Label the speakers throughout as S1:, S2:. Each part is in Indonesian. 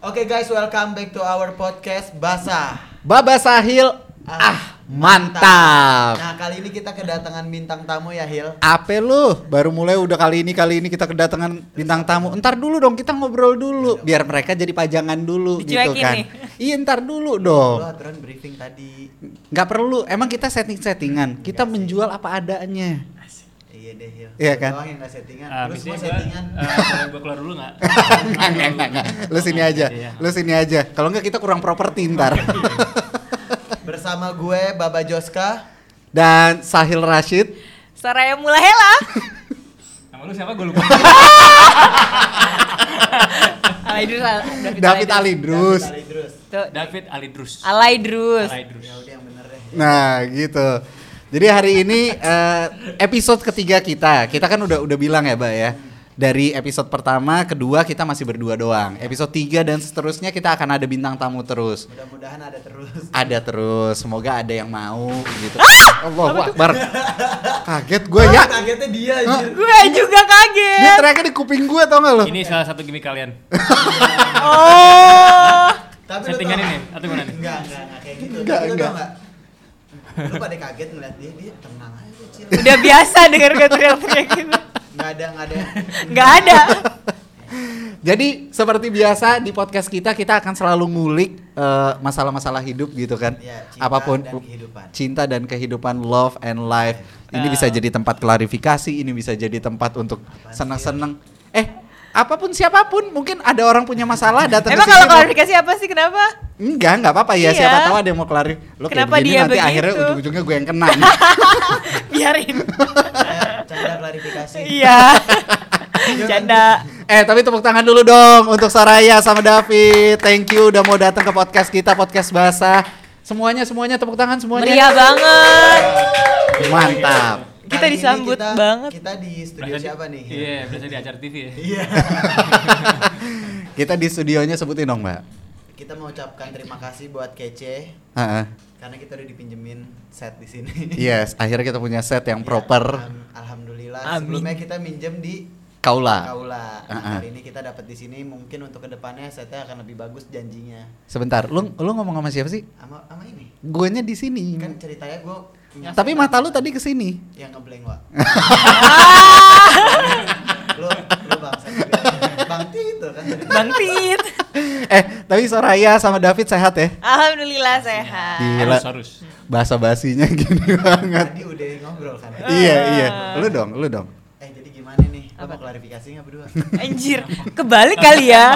S1: Oke guys, welcome back to our podcast Basah.
S2: Baba Sahil ah mantap.
S1: Nah, kali ini kita kedatangan bintang tamu ya, Hil.
S2: Apa lu? Baru mulai udah kali ini kali ini kita kedatangan bintang tamu. Ntar dulu dong kita ngobrol dulu biar mereka jadi pajangan dulu gitu
S3: Dicuekin
S2: kan.
S3: nih.
S2: Iya ntar dulu
S1: Lu
S2: dong.
S1: aturan briefing tadi.
S2: Nggak perlu. Emang kita setting-settingan. Kita menjual apa adanya.
S1: Iya deh, Hil.
S2: Iya kan?
S1: Lu doang yang gak settingan.
S3: Ah,
S1: Lu
S3: biasanya
S1: semua
S3: gua,
S1: settingan.
S3: ah, boleh gua keluar dulu nggak?
S2: Nggak, nggak, nggak, nggak. Lu sini aja.
S3: Iya.
S2: Lu sini aja. Kalau nggak kita kurang properti ntar.
S1: Bersama gue Baba Joska.
S2: Dan Sahil Rashid.
S4: Saraya Mulahela.
S3: Nama lu siapa? Gue lupa.
S4: Alaidrus. Al-
S2: David Alidrus.
S1: Dan Alidrus.
S4: Tuh,
S3: David Alidrus.
S2: Ah,
S4: Alaidrus.
S3: Alidrus.
S1: Ya udah yang bener deh.
S2: Nah, gitu. Jadi hari ini eh, episode ketiga kita. Kita kan udah udah bilang ya, Mbak ya. Dari episode pertama, kedua kita masih berdua doang. Episode tiga dan seterusnya kita akan ada bintang tamu terus.
S1: Mudah-mudahan ada terus.
S2: Ada terus. Semoga ada yang mau gitu. Allahu Akbar. Kaget gue ya.
S1: Kagetnya dia anjir.
S4: Gue juga
S2: Dia
S4: kaget.
S2: teriaknya di kuping gue tau gak lo?
S3: Ini salah satu gimmick kalian.
S4: Oh.
S1: Tapi lu
S3: Settingan
S1: tau
S3: ini
S1: nggak?
S3: atau gimana nih?
S1: Enggak, enggak, enggak kayak gitu.
S2: Nggak,
S1: Tapi lu
S2: nggak.
S1: tau nggak? Lu pada kaget ngeliat dia, dia tenang aja kecil.
S4: Udah biasa denger gue teriak-teriak gitu.
S1: Enggak ada, enggak ada.
S4: Gak ada.
S2: Jadi seperti biasa di podcast kita kita akan selalu ngulik eh, masalah-masalah hidup gitu kan.
S1: Ya, cinta
S2: Apapun
S1: dan kehidupan.
S2: cinta dan kehidupan love and life. Ini
S3: Nah.
S2: bisa
S4: Ah.
S2: jadi tempat klarifikasi, ini bisa jadi tempat untuk
S1: Apaan
S2: senang-senang. Eh, apapun siapapun mungkin ada orang punya masalah datang
S4: Emang
S2: ke
S4: kalau
S2: sini.
S4: klarifikasi apa sih kenapa?
S2: Enggak, enggak apa-apa ya.
S4: Iya.
S2: Siapa tahu ada yang mau klarif. Lo kayak
S4: Kenapa
S2: begini
S4: dia
S2: nanti
S4: begitu?
S2: akhirnya ujung-ujungnya gue yang kena.
S4: Biarin.
S1: Saya Ya, canda klarifikasi.
S4: Iya. Canda.
S2: Eh tapi tepuk tangan dulu dong untuk Saraya sama David. Thank you udah mau datang ke podcast kita podcast basah. Semuanya semuanya tepuk tangan semuanya.
S4: Meriah banget.
S2: Mantap.
S4: Kita
S1: Kali ini
S4: disambut
S1: kita- Ya.
S4: banget.
S1: Kita di studio
S3: Berasa di-
S1: siapa nih?
S3: Iya, biasa di acara TV ya.
S1: Iya.
S2: Kita di studionya sebutin dong mbak.
S1: kita mau ucapkan terima kasih buat Kece
S2: Heeh.
S1: karena kita udah dipinjemin set di sini.
S2: Yes, akhirnya kita punya set Iya, yang
S1: Ya,
S2: proper.
S1: alham- Alhamdulillah.
S4: Amin.
S1: Sebelumnya kita minjem di
S2: Kaula.
S1: Kaula. Nah,
S2: Ah-ah.
S1: kali ini kita dapat di sini mungkin untuk kedepannya setnya akan lebih bagus janjinya.
S2: Sebentar, lu lu ngomong sama siapa sih?
S1: Sama sama ini.
S2: Guenya di sini.
S1: Kan ceritanya gue
S2: Tapi mata lu tadi ke sini.
S1: yang ngeblank wa.
S4: Ah.
S1: lu lu bangsa juga. bang itu kan. tadi.
S4: Bang Tit.
S2: Eh, tapi Soraya sama David sehat ya?
S4: Alhamdulillah
S1: Ya.
S4: sehat.
S2: Gila.
S3: Harus, harus.
S2: Bahasa basinya gini banget.
S1: Tadi udah ngobrol kan.
S4: Eh.
S2: Iya, iya. Lu dong, lu dong.
S1: Eh jadi gimana nih? Lo
S4: Apa?
S1: mau klarifikasi nggak berdua?
S4: Anjir, kebalik kali ya.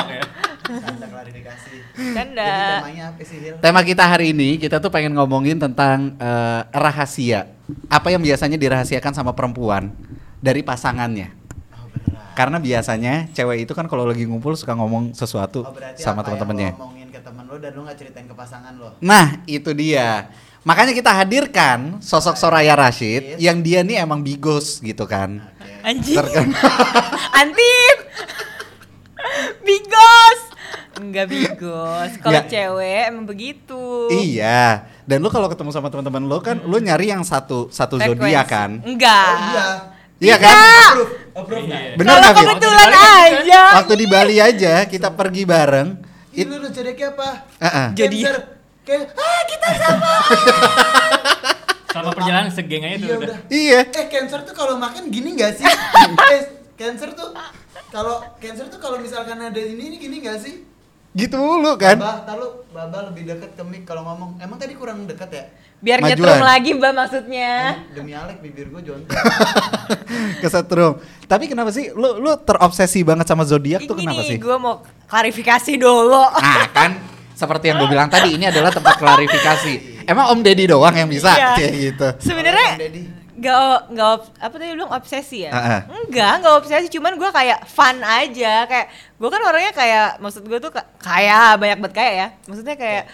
S1: Tanda klarifikasi.
S4: Canda.
S1: Jadi temanya apa sih Hil?
S2: Tema kita hari ini kita tuh pengen ngomongin tentang eh, rahasia. Apa yang biasanya dirahasiakan sama perempuan dari pasangannya.
S1: Oh berat.
S2: Karena biasanya cewek itu kan kalau lagi ngumpul suka ngomong sesuatu
S1: Oh berarti
S2: sama
S1: apa yang
S2: teman-temannya.
S1: lo ngomongin ke temen lo dan lo nggak ceritain ke pasangan lo?
S2: Nah, itu dia. Makanya kita hadirkan sosok Soraya Rashid
S1: Yes.
S2: yang dia nih emang bigos gitu kan.
S1: Oke.
S4: Anjir.
S2: Terkenal.
S4: Antip. Bigos. Enggak bigos. Kalau
S2: Nggak.
S4: cewek emang begitu.
S2: Iya. Dan lu kalau ketemu sama teman-teman lu kan lu nyari yang satu satu zodiak kan.
S4: Enggak.
S1: Oh, iya.
S2: Iya kan?
S1: Approve. Approve nggak?
S3: Iya.
S2: Benar
S4: Kalau
S2: nggak, Fit?
S4: kebetulan
S3: Waktu di Bali kan?
S4: aja.
S2: Waktu di Bali aja kita pergi bareng.
S1: Itu
S2: It,
S1: lo zodiaknya apa?
S2: Heeh.
S4: Jadi-
S1: Cancer. Kayak ah kita
S3: Selama perjalanan segeng aja
S1: Iya,
S3: tuh udah.
S1: udah.
S2: Iya.
S1: Eh cancer tuh kalau makan gini nggak sih? eh cancer tuh kalau cancer tuh kalau misalkan ada ini ini gini nggak sih?
S2: Gitu mulu kan.
S1: Bah, tahu Baba lebih dekat ke mic kalau ngomong. Emang tadi kurang dekat ya?
S4: Biar
S2: Majuan.
S4: nyetrum lagi, Mbak maksudnya.
S1: Demi Alek bibir gue jontek.
S4: Iya.
S2: Kesetrum. Tapi kenapa sih lu lu terobsesi banget sama zodiak tuh
S4: Ini
S2: kenapa
S4: nih,
S2: sih?
S4: gue mau klarifikasi dulu.
S2: Nah kan seperti yang gue bilang tadi ini adalah tempat klarifikasi. Emang Om Deddy doang yang bisa
S4: Iya.
S2: kayak gitu.
S1: Kalau
S4: Sebenarnya
S1: Deddy.
S4: Gak, gak, ob- apa tadi lu bilang obsesi ya?
S2: Ah, ah.
S4: Enggak, gak obsesi, cuman gue kayak fun aja Kayak, gue kan orangnya kayak, maksud gue tuh ka- kaya, banyak banget kaya ya Maksudnya kayak,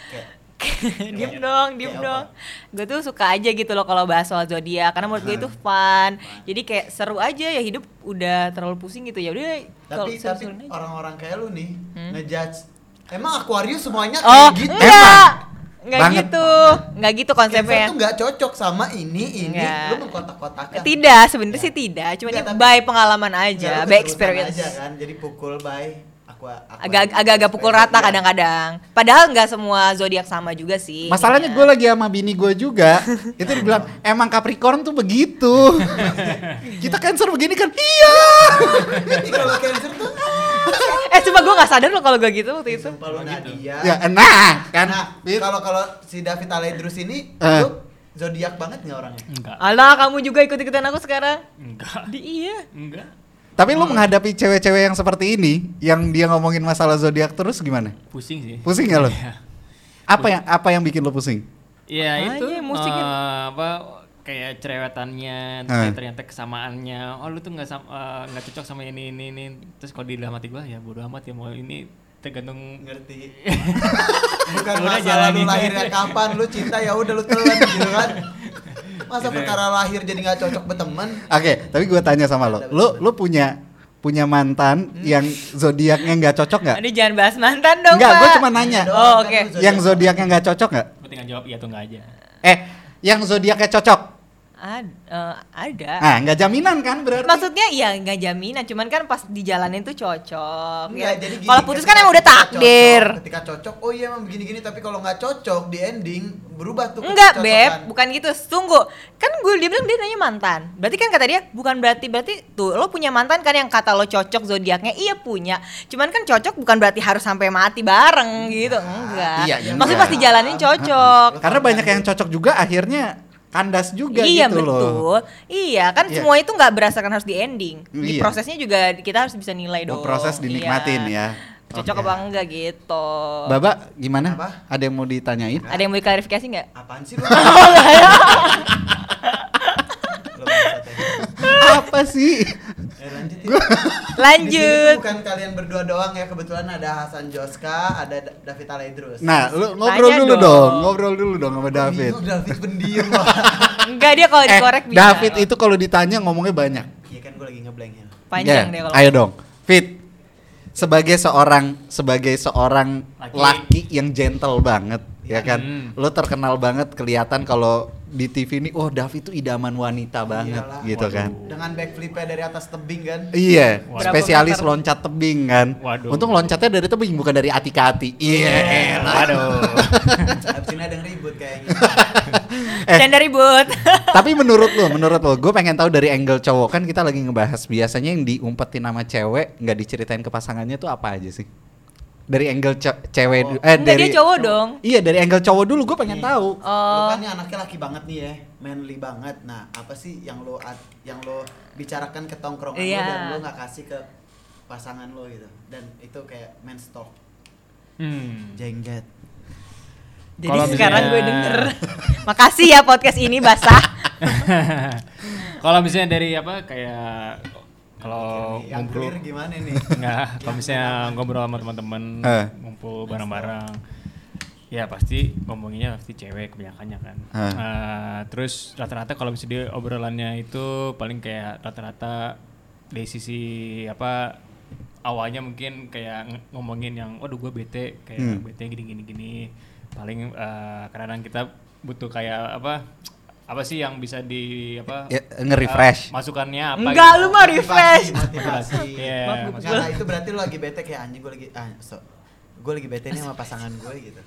S1: Kayak-
S4: diem dong, diem
S1: Kayak
S4: dong Gue tuh suka aja gitu loh kalau bahas soal zodiak Karena menurut gue itu fun Jadi kayak seru aja ya hidup udah terlalu pusing gitu ya udah
S1: tapi
S4: kalau
S1: tapi
S4: seru-seruan aja. Hmm?
S1: orang-orang kayak lu nih ngejudge emang Aquarius semuanya
S4: Oh,
S1: kayak gitu
S4: enggak Enggak
S2: Banget.
S4: gitu, enggak gitu konsepnya
S1: Cancer tuh nggak cocok sama ini ini lu
S4: Enggak.
S1: mengkotak-kotakan
S4: Tidak, sebenarnya sih tidak Cuma
S1: Iya. Enggak,
S4: ini
S1: tapi-
S4: by pengalaman
S1: Enggak, lu
S4: aja, by
S1: keterusan
S4: experience
S1: aja kan jadi pukul by aqua, aqua
S4: agak agak agak pukul rata
S1: Iya.
S4: kadang-kadang. Padahal nggak semua zodiak sama juga sih. Iya.
S2: Masalahnya gue
S4: ininya.
S2: lagi sama bini gue juga Itu dibilang emang Capricorn tuh begitu Kita cancer begini kan Iya
S1: Jadi Iya, kalau cancer tuh
S4: eh cuma gue nggak sadar loh kalau gue gitu waktu
S1: Iya,
S4: itu.
S1: Sumpah lu Nadia
S2: Ya nah kan
S1: Nah,
S2: Fit.
S1: kalau kalau si David Alaidrus ini
S2: Eh.
S1: lu zodiak banget nggak orangnya?
S3: Enggak.
S4: Alah kamu juga ikut-ikutan aku sekarang.
S3: Enggak.
S4: Di iya.
S3: Enggak.
S2: Tapi lu menghadapi cewek-cewek yang seperti ini Yang dia ngomongin masalah zodiak terus gimana?
S3: Pusing sih.
S2: Pusing ya nggak lo?
S3: Iya.
S2: Apa yang apa yang bikin lu pusing?
S3: Iya
S4: Apanya,
S3: itu
S4: musiknya?
S3: eh, apa kayak cerewetannya terus
S2: Eh.
S3: kayak ternyata kesamaannya oh lu tuh nggak sam- eh, nggak cocok sama ini ini ini terus kalau di dalam hati gua ya bodo amat ya mau ini tergantung
S1: Ngerti. Bukan
S3: Udah
S1: masalah lu
S3: jalanin
S1: lahirnya
S3: aja.
S1: kapan, lu cinta ya udah lu telan gitu kan. Masa
S2: ya.
S3: Gitu.
S1: perkara lahir jadi nggak cocok berteman?
S2: Oke, tapi gue tanya sama lo, lo lo punya punya mantan yang zodiaknya nggak cocok nggak?
S4: Ini jangan bahas mantan dong.
S2: Nggak,
S4: Pak.
S2: gue cuma nanya.
S4: Oh, oke.
S1: kan
S2: Yang zodiaknya nggak cocok nggak?
S3: gua tinggal jawab iya atau enggak aja
S2: Eh, yang zodiaknya cocok?
S4: Ad- eh, ada.
S2: Nah, nggak jaminan kan berarti?
S4: Maksudnya iya nggak jaminan, cuman kan pas dijalanin tuh cocok.
S1: Nggak,
S4: ya.
S1: jadi gini,
S4: Kalau putus kan
S1: ketika-
S4: emang udah
S1: ketika cocok-
S4: takdir.
S1: ketika cocok, oh iya emang begini-gini tapi kalau nggak cocok di ending berubah tuh.
S4: Enggak, Beb,
S1: kecocokan.
S4: bukan gitu. Tunggu. Kan gue dia bilang dia nanya mantan. Berarti kan kata dia bukan berarti berarti tuh lo punya mantan kan yang kata lo cocok zodiaknya. Iya punya. Cuman kan cocok bukan berarti harus sampai mati bareng gitu.
S1: Ah,
S4: Enggak.
S2: Iya, iya.
S4: Maksudnya pasti jalanin cocok.
S2: Karena banyak yang cocok juga akhirnya kandas juga
S4: iya
S2: gitu
S4: betul.
S2: loh.
S4: Iya, kan
S2: Iya.
S4: semua itu nggak berdasarkan harus di ending. Di
S2: Iya.
S4: prosesnya juga kita harus bisa nilai
S2: Oh,
S4: dong.
S2: proses
S4: Iya.
S2: dinikmatin ya.
S4: Cocok
S2: Oke.
S4: apa enggak gitu.
S2: Baba, gimana?
S1: Apa?
S2: Ada yang mau ditanyain?
S4: Ada yang mau diklarifikasi nggak?
S1: Apaan sih lu?
S4: Oh,
S1: Lu
S4: ya.
S1: bangsat ya.
S2: apa sih?
S1: Eh, lanjut ya. Di sini tuh
S4: Lanjut.
S1: bukan kalian berdua doang ya kebetulan ada Hasan Joska, ada Da- David Alaidrus.
S2: Nah, lu ngobrol
S4: Tanya
S2: dulu
S4: dong.
S2: dong. ngobrol dulu dong sama David.
S1: Bingung, Iya, David pendiam loh.
S4: Enggak dia kalau Oh, dikorek bisa.
S2: Eh, David itu kalau ditanya ngomongnya banyak.
S1: Iya kan gue lagi ngeblank ya.
S4: panjang
S2: Ya,
S4: deh kalau.
S2: Ayo dong, Fit. Sebagai seorang sebagai seorang
S3: Laki.
S2: laki, yang gentle banget, ya kan?
S3: Hmm.
S2: Lu terkenal banget kelihatan kalau di TV ini, oh David itu idaman wanita banget,
S1: Iyalah.
S2: gitu
S3: Waduh.
S2: kan?
S1: Dengan backflipnya dari atas tebing kan.
S2: Iya,
S3: Waduh.
S2: spesialis
S4: Berapa meter?
S2: loncat tebing kan.
S3: Waduh.
S2: Untung loncatnya dari tebing bukan dari ati ke ati. Iya. elah.
S3: aduh
S1: Habis ini ada yang ribut kayaknya.
S2: Eh.
S4: Dan dari ribut.
S2: Tapi menurut lo, menurut lo, gue pengen tahu dari angle cowok kan kita lagi ngebahas biasanya yang diumpetin sama cewek nggak diceritain ke pasangannya tuh apa aja sih? Dari angle ce- cewek,
S1: Oh.
S2: du- eh
S4: Enggak
S2: dari
S4: dia cowok dong.
S2: Iya dari angle cowok dulu gue
S3: Iya.
S2: pengen tahu.
S1: Lu
S4: Oh.
S1: kan nih anaknya laki banget nih ya, manly banget. Nah, apa sih yang lo at- yang lo bicarakan ke tongkrongan
S4: Iya.
S1: lo dan lo nggak kasih ke pasangan lo gitu. Dan itu kayak men talk,
S3: hmm.
S1: jenggot.
S4: Jadi
S3: Kalau
S4: sekarang gue
S3: misalnya-
S4: denger. Makasih ya podcast ini basah.
S3: kalau misalnya dari apa kayak kalau
S1: yang
S3: ngumpul
S1: clear ya, gitu gimana nih?
S3: Enggak, kalau misalnya ngobrol sama teman-teman,
S2: Eh.
S3: ngumpul bareng-bareng. Ya pasti ngomonginnya pasti cewek kebanyakannya kan.
S2: Eh.
S3: Eh, terus rata-rata kalau misalnya dia obrolannya itu paling kayak rata-rata dari sisi apa awalnya mungkin kayak ng- ngomongin yang waduh gue bete kayak
S2: Hmm.
S3: bete gini gini gini paling eh, kadang kita butuh kayak apa apa sih yang bisa di apa
S2: Ya, nge-refresh.
S3: eh, masukannya apa
S4: Enggak
S3: gitu.
S4: lu mah refresh.
S1: Motivasi, motivasi.
S3: Iya,
S1: Nggak,
S3: maksudnya.
S1: nah, itu berarti lo lagi bete kayak anjing gue lagi ah so gue lagi bete nih sama pasangan gue gitu.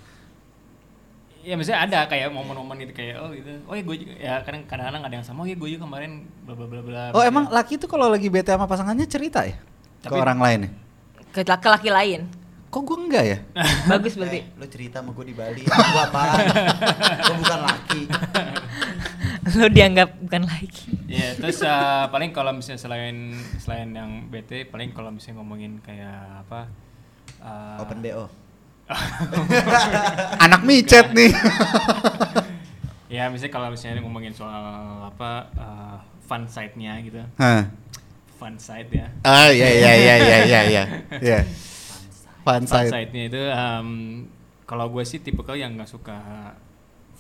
S3: Ya misalnya ada kayak momen-momen gitu kayak oh gitu. Oh ya gue juga ya kadang kadang-kadang ada yang sama. Oh ya gue juga kemarin bla bla bla bla.
S2: Oh emang laki tuh kalau lagi bete sama pasangannya cerita ya ke
S3: Tapi-
S2: orang lain ya?
S4: Ke ke laki lain.
S2: Kok gue enggak ya?
S4: Bagus berarti.
S1: Eh, lo cerita sama gue di Bali, gue apaan? gue bukan laki.
S4: Lo dianggap bukan laki.
S3: Ya terus eh, paling kalau misalnya selain selain yang BT paling kalau misalnya ngomongin kayak apa eh,
S1: Open BO.
S2: Anak micet nih.
S3: Ya misalnya kalau misalnya ngomongin soal apa eh, fun side-nya gitu.
S2: Hah.
S3: Fun side ya.
S2: Ah iya iya iya iya iya iya. Iya. Fun
S3: Fun
S2: side.
S3: side-nya itu em, kalau gue sih tipe kau yang nggak suka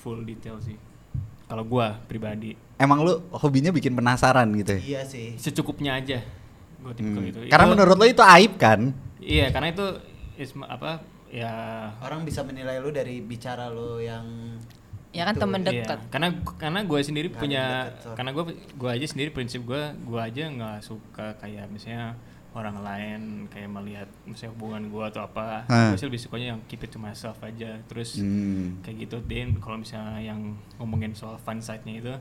S3: full detail sih. Kalau gue pribadi
S2: Emang lu hobinya bikin penasaran gitu ya?
S1: Iya sih.
S3: secukupnya aja. Gue tipe
S2: Hmm.
S3: gitu.
S2: Karena
S3: Itu-
S2: menurut lo itu aib kan?
S3: Iya, karena itu isma, apa ya
S1: Orang bisa menilai lu dari bicara lu yang
S4: Ya kan
S1: itu.
S4: temen
S3: iya.
S4: Mendekat.
S3: Karena karena gue sendiri
S1: Nggak
S3: punya
S1: mendekat, sorry.
S3: karena gue gue aja sendiri prinsip gue gue aja nggak suka kayak misalnya orang lain kayak melihat misalnya hubungan gue atau apa
S2: Ah.
S3: gue sih lebih sukanya yang keep it to myself aja terus
S2: Hmm.
S3: kayak gitu dan kalau misalnya yang ngomongin soal fun side-nya itu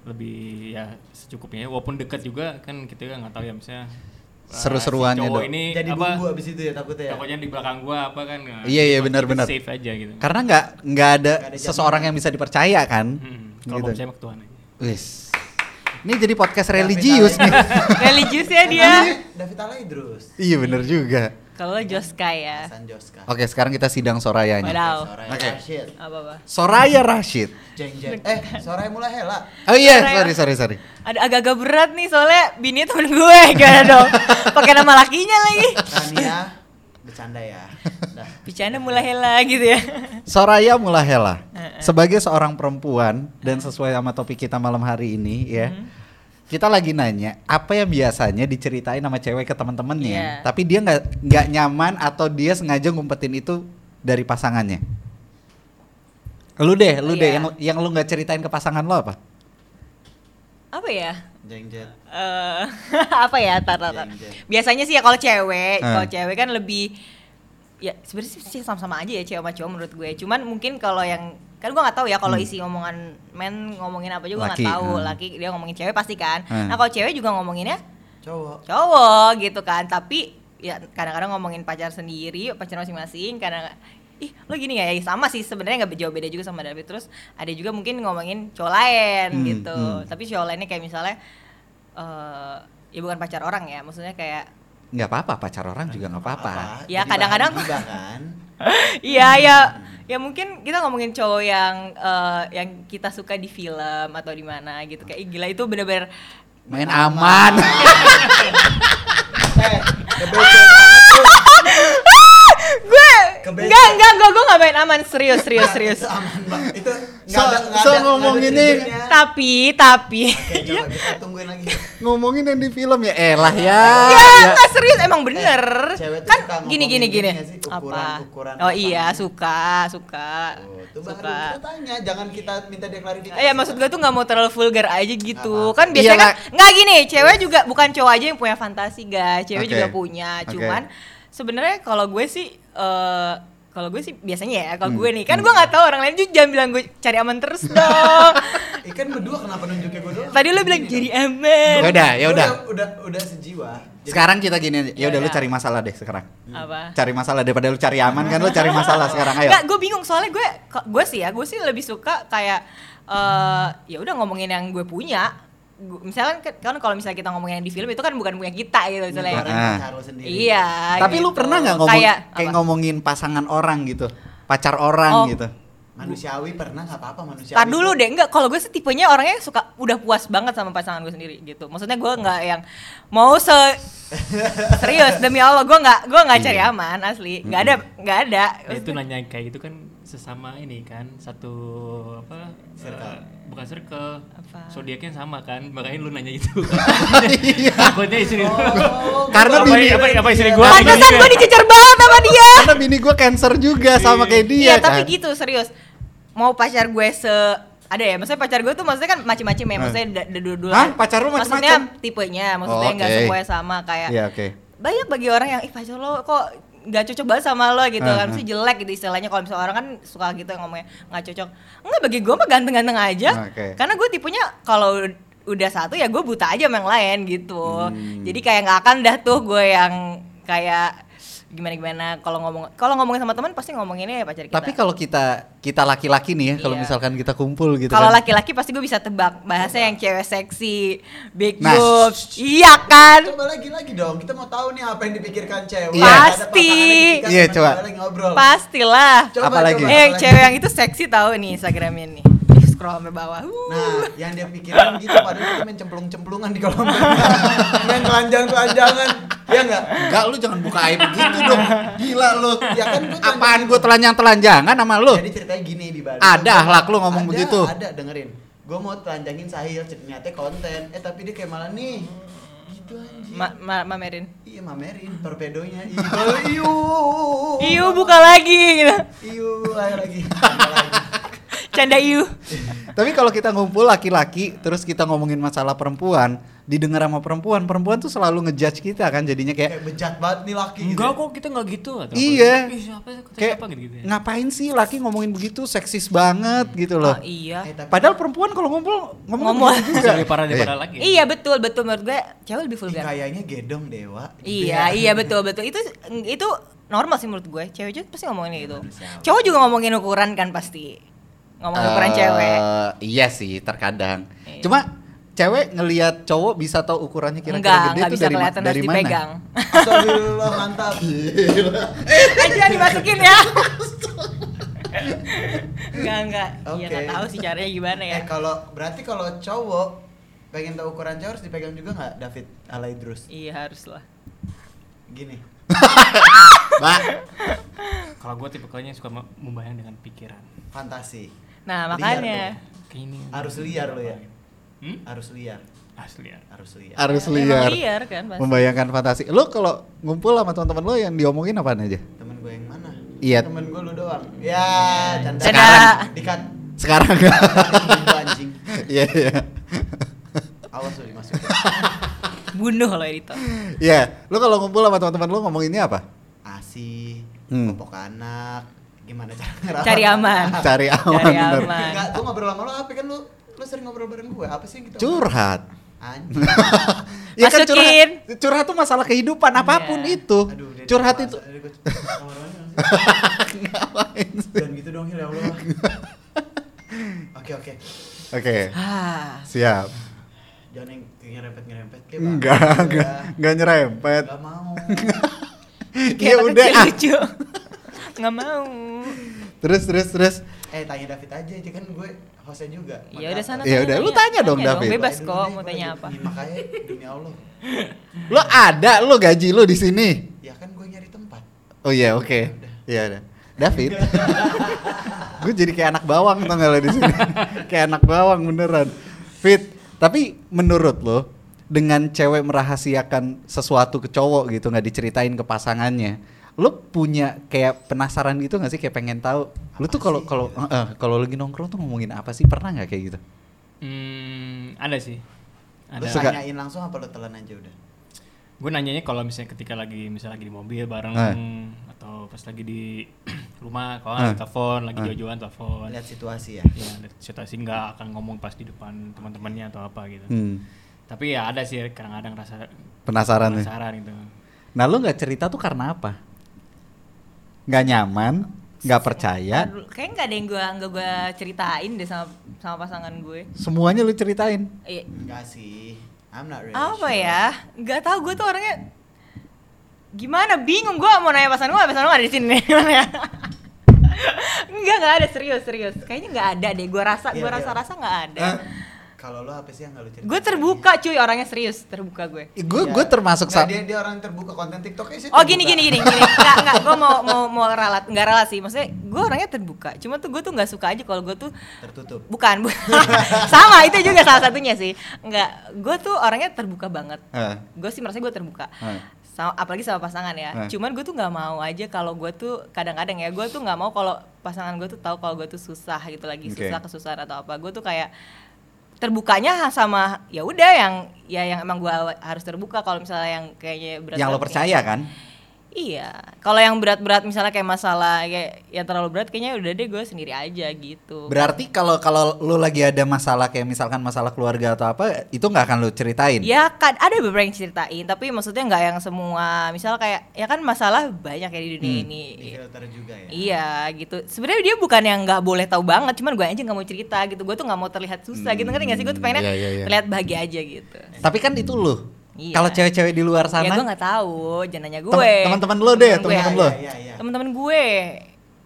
S3: lebih ya secukupnya walaupun dekat juga kan kita kan nggak tahu ya misalnya uh,
S2: Seru-seruannya,
S3: si cowok
S2: Dok.
S3: ini
S1: Jadi
S3: apa
S1: bumbu abis itu ya takutnya ya.
S3: pokoknya di belakang gua apa kan nggak-
S2: Iya, iya,
S3: buat
S2: benar,
S3: kita
S2: benar.
S3: safe aja gitu
S2: Karena nggak nggak ada
S1: Nggak ada jaminan.
S2: seseorang yang bisa dipercaya kan.
S3: Hmm, kalau
S2: Gitu.
S3: gitu. saya sama Tuhan aja
S2: Wis. Ini jadi podcast religius nih.
S4: religius ya dia
S1: Namanya David Alaidrus.
S2: iya bener juga.
S4: kalau Joska ya
S1: Hasan Joska.
S2: Oke sekarang kita sidang Sorayanya.
S4: Wadaw
S1: Soraya
S2: Oke.
S1: Rashid.
S4: apa apa
S2: Soraya Rashid.
S1: Jeng jeng. Eh, Soraya mulai hela.
S2: Oh iya,
S4: Soraya.
S2: sorry sorry sorry.
S4: ada agak-agak berat nih soalnya bini temen gue gimana dong pakai nama lakinya lagi
S1: Rania bercanda ya. Dah.
S4: bercanda mulai hela gitu ya
S2: Soraya Mulahela sebagai seorang perempuan dan sesuai sama topik kita malam hari ini ya.
S4: Mm-hmm. Hmm.
S2: Kita lagi nanya apa yang biasanya diceritain sama cewek ke teman-temannya,
S4: Iya.
S2: tapi dia nggak nggak nyaman atau dia sengaja ngumpetin itu dari pasangannya. Lu deh, lu deh
S4: Iya.
S2: yang yang lu nggak ceritain ke pasangan lo apa?
S4: apa ya
S1: Jeng jeng.
S4: Eh, apa ya tar, tar, tar.
S1: Jeng, jeng.
S4: biasanya sih ya kalau
S2: Eh.
S4: cewek kalau cewek kan lebih ya sebenarnya sih- sih sama-sama aja ya cewek sama cowok menurut gue cuman mungkin kalau yang kan gue nggak tahu ya kalau
S2: Hmm.
S4: isi omongan men ngomongin apa juga
S2: Laki,
S4: nggak tahu
S2: eh.
S4: laki dia ngomongin cewek pasti kan
S2: Eh.
S4: nah kalau cewek juga ngomonginnya
S1: Cowok.
S4: cowok gitu kan tapi ya kadang-kadang ngomongin pacar sendiri pacar masing-masing kadang ih lo gini gak ya sama sih sebenarnya nggak jauh beda juga sama David terus ada juga mungkin ngomongin cowok lain
S2: Hmm,
S4: gitu
S2: hmm.
S4: tapi cowok lainnya kayak misalnya eh ya bukan pacar orang ya maksudnya kayak
S2: Nggak apa-apa, pacar orang juga nggak apa-apa.
S1: Apa?
S4: Ya,
S1: Jadi
S4: kadang-kadang-
S1: bahan gibah kan.
S2: Hmm.
S4: iya ya ya mungkin kita ngomongin cowok yang eh, yang kita suka di film atau di mana gitu kayak "Ih, gila itu bener-bener
S2: Main aman.
S1: Eh, kebece banget tuh.
S4: gue
S1: Kebetulan.
S4: enggak
S2: ya?"
S4: enggak gue gue eh, nggak main aman serius serius serius
S1: Itu aman banget. Itu
S2: So- so ngomong ini-
S4: tapi tapi
S1: Iya, kita tungguin lagi.
S2: Ngomongin yang di film ya, elah ya.
S4: Ya,
S2: ya.
S4: nggak serius emang bener.
S1: Eh, cewek tuh
S4: kan
S1: suka ngomongin
S4: gini gini gini.
S1: gini nggak sih? Ukuran, ukuran
S4: oh
S1: apa?
S4: iya, suka, suka.
S1: Oh, itu baru
S4: suka.
S1: kita tanya, jangan kita minta dia klarifikasi.
S4: Eh, Ya maksud gue tuh nggak mau terlalu vulgar aja
S1: Nggak
S4: gitu kan biasanya
S2: Iya,
S4: kan nggak gini cewek juga bukan cowok aja yang punya fantasi guys cewek
S2: Oke.
S4: juga punya
S2: Oke.
S4: cuman sebenarnya kalau gue sih eh kalau gue sih biasanya ya kalau
S2: Hmm.
S4: gue nih kan gue nggak tahu orang lain juga jangan bilang gue cari aman terus dong
S1: Ikan berdua kan kenapa nunjuknya gue doang?
S4: tadi lo bilang
S1: Gini
S4: jadi
S1: dong.
S4: aman
S2: Ya udah, ya
S1: Gua
S2: udah.
S1: Udah udah sejiwa. Jadi-
S2: Sekarang kita gini aja. Ya udah lu
S4: Yaudah.
S2: cari masalah deh sekarang.
S4: apa
S2: Cari masalah daripada lu cari aman kan lu cari masalah sekarang ayo.
S4: Nggak, gue bingung soalnya gue ko- gue sih ya, gue sih lebih suka kayak eh ya udah ngomongin yang gue punya. Gu- Misalkan ke- kan kalau misalnya kita ngomongin yang di film itu kan bukan punya kita gitu
S1: Ngeluarin
S4: misalnya.
S2: Iya. Ah.
S1: pacar lo sendiri.
S4: Iya.
S2: Tapi lu
S4: gitu.
S2: pernah nggak ngomong
S4: kayak,
S2: kayak,
S4: apa?
S2: ngomongin pasangan orang gitu, pacar orang
S4: Oh.
S2: gitu.
S1: Manusiawi pernah nggak apa-apa manusiawi.
S4: Tar dulu deh, enggak kalau gue sih tipenya orangnya suka udah puas banget sama pasangan gue sendiri gitu. Maksudnya gue nggak yang mau se serius demi Allah gue nggak gue nggak cari
S2: Iya.
S4: aman asli, nggak ada nggak ada.
S3: Ya, itu nanya kayak gitu kan sesama ini kan satu apa
S1: Circle.
S3: eh, bukan circle
S4: Apa?
S3: zodiaknya sama kan makanya lu nanya itu takutnya istri lu
S1: Oh.
S2: Karena
S3: apa,
S2: bini-
S3: apa, apa istri gua
S4: Pantesan
S2: Iya.
S4: gue dicecer banget sama dia.
S2: Karena bini gua cancer juga sama kayak dia
S4: Iya, tapi
S2: kan.
S4: gitu serius. Mau pacar gue se ada ya, maksudnya pacar gue tuh maksudnya kan macem-macem ya, maksudnya da- da- dua-dua.
S2: Hmm. Hah? Pacar lu
S4: Maksudnya
S2: macem-macem?
S4: tipenya, maksudnya
S2: Oh,
S4: nggak
S2: oke.
S4: semuanya sama kayak.
S2: Iya, oke.
S4: Banyak bagi orang yang ih pacar lo kok nggak cocok banget sama lo gitu
S2: Ah,
S4: kan,
S2: ah.
S4: mesti jelek gitu istilahnya kalau misalnya orang kan suka gitu yang ngomongnya nggak cocok. Enggak bagi gue mah ganteng-ganteng aja.
S2: Oke.
S4: Karena gue tipenya kalau udah satu ya gue buta aja sama yang lain gitu.
S2: Hmm.
S4: Jadi kayak nggak akan dah tuh gue yang kayak gimana gimana kalau ngomong kalau ngomongin sama teman pasti ngomonginnya ya pacar kita.
S2: Tapi kalau kita kita laki-laki nih ya, kalau
S4: Iya.
S2: misalkan kita kumpul gitu
S4: Kalau
S2: kan.
S4: laki-laki pasti gue bisa tebak bahasanya yang cewek seksi, big
S2: Nah,
S4: boobs, iya kan?
S1: Coba lagi lagi dong. Kita mau tahu nih apa yang dipikirkan cewek.
S2: Iya.
S1: Ada
S4: Pasti.
S1: pasangan yang dikasih
S2: Iya,
S1: sama
S2: coba.
S1: cewek lagi ngobrol.
S4: Pastilah.
S1: Coba,
S2: Apalagi?
S1: coba,
S4: Eh,
S1: apalagi.
S4: cewek yang itu seksi tahu nih Instagramnya nih. Ih, Scroll sampai bawah. Uh.
S1: Nah, yang dia pikirin gitu padahal kita main cemplung-cemplungan di kolam renang. main telanjang-telanjangan. Iya enggak?
S2: Enggak lu jangan buka aib gitu dong. Gila lu.
S4: Iya,
S1: Ya kan gua
S2: Apaan
S1: telanjang-
S2: gua telanjang-telanjangan sama lu?
S1: Jadi ceritanya gini di balik.
S2: Ada ahlak lu ngomong
S1: Ada,
S2: begitu.
S1: Ada, dengerin. Gue mau telanjangin Sahil, ternyata konten. Eh tapi dia kayak malah nih. Gitu anjing.
S4: Ma, ma, mamerin.
S1: iya mamerin torpedonya. Iya. Kalau iu.
S4: Iu buka lagi gitu.
S1: Iu, ayo lagi. Tambah lagi.
S4: Canda you.
S2: Tapi kalau kita ngumpul laki-laki terus kita ngomongin masalah perempuan, didengar sama perempuan, perempuan tuh selalu ngejudge kita kan jadinya kayak
S1: kayak bejat banget nih laki gitu.
S3: Enggak kok kita enggak gitu atau apa.
S2: Iya.
S3: Ih, siapa sih kata
S2: kayak
S3: siapa gitu-gitu ya. Hmm.
S2: ngapain sih laki ngomongin begitu seksis banget gitu loh.
S4: Oh, iya.
S1: Eh, tapi
S2: Padahal perempuan kalau ngumpul ngomong
S4: Ngomong.
S2: begitu juga.
S3: Bisa lebih parah daripada lagi.
S4: Iya betul betul menurut gue cewek lebih
S1: ih,
S4: vulgar.
S1: kayaknya gedong dewa. gitu
S4: Iya,
S1: ya.
S4: iya betul betul. Itu itu normal sih menurut gue. Cewek juga pasti ngomongin gitu.
S1: manusiawi.
S4: Cowok juga ngomongin ukuran kan pasti. Ngomongin ukuran
S2: Eh,
S4: cewek.
S2: Iya sih, terkadang.
S4: Iya.
S2: Cuma cewek ngelihat cowok bisa tahu ukurannya
S4: Enggak,
S2: kira-kira gede
S4: enggak
S2: itu
S4: bisa
S2: dari, ma-
S4: kelihatan
S2: dari
S4: harus
S2: mana?
S4: dipegang.
S1: Astagfirullah mantap.
S4: Aja dimasukin ya. enggak, enggak. Iya, enggak
S1: Oke.
S4: tahu sih caranya gimana ya.
S1: Eh kalau berarti kalau cowok pengen tahu ukuran cowok harus dipegang juga nggak David Alaidrus?
S4: Iya, harus lah.
S1: Gini.
S2: Mbak,
S3: Kalau gue tipikalnya yang suka me- membayang dengan pikiran.
S1: Fantasi.
S4: Nah,
S1: Liar
S4: makanya
S3: Kayak ini.
S1: Harus liar lo ya.
S3: Hmm?
S1: Harus liar,
S3: Asli ya.
S1: harus liar.
S2: harus
S4: Emang
S2: liar.
S4: liar kan pasti.
S2: Membayangkan fantasi. Lu kalau ngumpul sama teman-teman lu yang diomongin apaan aja?
S1: Temen gue yang mana?
S2: Iya.
S1: Temen gue lu doang. Ya, canda.
S4: Canda.
S1: Dikat.
S2: Sekarang kan?
S1: Lu anjing.
S2: Iya, iya.
S1: Awas lu dimasukin.
S4: bunuh lo editor.
S2: Iya, lu kalau ngumpul sama teman-teman lu ngomonginnya apa?
S1: Asi,
S2: Hmm.
S1: kelompok anak. Gimana cara ngerawat?
S4: Cari aman.
S2: Cari aman,
S4: Cari
S2: bener.
S4: aman.
S1: Enggak, gua ngobrol sama lu apa kan lu lu sering ngobrol bareng gue. Apa sih yang kita
S2: Curhat. Iya kan
S1: Anjing.
S4: Masukin.
S2: curhat, curhat tuh masalah kehidupan apapun
S4: Iya.
S2: itu.
S1: Aduh, Dede,
S2: curhat
S1: masa-
S2: itu.
S1: Dede, gua- Kamar mandi mana sih? Jangan gitu dong, Hil, ya Allah. Oke, oke.
S2: Oke,
S4: Ah.
S2: siap.
S1: Jangan yang nyerempet-nyerempet. Kayak bagus,
S2: Enggak,
S1: ya.
S2: enggak, enggak nyerempet.
S1: Enggak mau.
S2: Ya
S4: anak
S2: udah.
S4: kecil
S2: ah.
S4: lucu. Enggak mau.
S2: Terus terus terus.
S1: Eh, tanya David aja, dia kan gue hostnya juga.
S4: Ya udah sana.
S2: Ya udah, lu tanya dong, David.
S4: Bebas
S1: Aduh,
S4: kok
S1: nih,
S4: mau
S1: gua
S4: tanya
S1: lagi-
S4: apa.
S1: nih, Makanya demi Allah.
S2: Lu ada, lu gaji lu di sini.
S1: Ya kan gue nyari tempat.
S2: Oh iya, oke. Iya, ada. David. Gue jadi kayak anak bawang tau nggak lo di sini. kayak anak bawang beneran. Fit, tapi menurut lo dengan cewek merahasiakan sesuatu ke cowok gitu nggak diceritain ke pasangannya, lo punya kayak penasaran gitu nggak sih kayak pengen tahu lo
S1: Apa
S2: tuh kalau
S1: sih?
S2: kalau eh, eh, kalau lagi nongkrong tuh ngomongin apa sih pernah nggak kayak gitu?
S3: Hmm, ada sih.
S1: Lu
S3: Ada.
S2: Suka-
S1: tanyain langsung apa lu telan aja udah?
S3: Gue nanyanya kalau misalnya ketika lagi misalnya lagi di mobil bareng
S2: Eh.
S3: atau pas lagi di rumah
S2: Eh.
S3: kalau nggak telepon lagi
S2: Eh.
S3: jauh-jauhan telepon.
S1: Lihat situasi ya.
S3: Ya, lihat situasi nggak akan ngomong pas di depan teman-temannya atau apa gitu.
S2: Hmm,
S3: Tapi ya ada sih kadang-kadang rasa
S2: penasaran nih.
S3: penasaran gitu.
S2: Nah lo nggak cerita tuh karena apa? Nggak nyaman, nggak percaya,
S4: Aduh, Kayaknya nggak ada yang gue nggak gue ceritain deh sama sama pasangan gue.
S2: semuanya lo ceritain.
S4: Eh,
S1: Enggak sih. I'm not really
S4: apa
S1: sure.
S4: ya? Nggak tahu gue tuh orangnya gimana bingung gue mau nanya pasangan gue pasangan gue ada di sini Gimana ya? Enggak, enggak ada serius, serius. Kayaknya enggak ada deh. Gue rasa,
S1: Iya,
S4: gue
S1: iya.
S4: rasa-rasa enggak ada.
S1: Kalau lu apa sih yang gak lu ceritain?
S4: Gue terbuka cuy, orangnya serius, terbuka gue.
S2: Gue gue termasuk
S1: Nggak,
S2: sa-
S1: Iya. Nah, dia, dia orang terbuka konten TikToknya sih
S4: Oh gini
S1: terbuka.
S4: gini gini gini. Enggak enggak gue mau mau mau ralat, enggak ralat sih. Maksudnya gue orangnya terbuka. Cuma tuh gue tuh nggak suka aja kalau gue tuh
S1: tertutup
S4: bukan, bu- sama itu juga salah satunya sih. Enggak, gue tuh orangnya terbuka banget.
S2: Eh,
S4: Gue sih merasa gue terbuka.
S2: eh.
S4: Sama, apalagi sama pasangan ya.
S2: Eh.
S4: Cuman gue tuh nggak mau aja kalau gue tuh kadang-kadang ya gue tuh nggak mau kalau pasangan gue tuh tahu kalau gue tuh susah gitu lagi
S2: Oke.
S4: susah kesusahan atau apa. Gue tuh kayak terbukanya sama ya udah yang ya yang emang gue harus terbuka kalau misalnya yang kayaknya berat
S2: Yang lo percaya kan?
S4: Iya, kalau yang berat-berat misalnya kayak masalah kayak yang terlalu berat kayaknya udah deh gue sendiri aja gitu.
S2: Berarti kalau kalau lo lagi ada masalah kayak misalkan masalah keluarga atau apa, itu nggak akan lo ceritain.
S4: Ya kan ada beberapa yang ceritain, tapi maksudnya nggak yang semua. Misal kayak ya kan masalah banyak ya di dunia
S2: Hmm.
S4: ini.
S1: di filter juga ya
S4: Iya gitu. Sebenarnya dia bukan yang nggak boleh tahu banget, cuman gue aja nggak mau cerita gitu. Gue tuh nggak mau terlihat susah gitu ngerti nggak sih? Gue tuh
S2: Hmm, iya,
S4: pengennya
S2: iya, iya.
S4: terlihat bahagia aja gitu.
S2: Tapi kan itu lo.
S4: Iya.
S2: Kalau cewek-cewek di luar
S4: Ya gue
S2: sana,
S4: nggak tahu, jangan nanya
S2: Tem-
S4: gue.
S2: teman-teman lo deh,
S4: gue
S2: teman-teman
S4: aja.
S2: lo.
S1: Iya, iya.
S4: Teman-teman gue,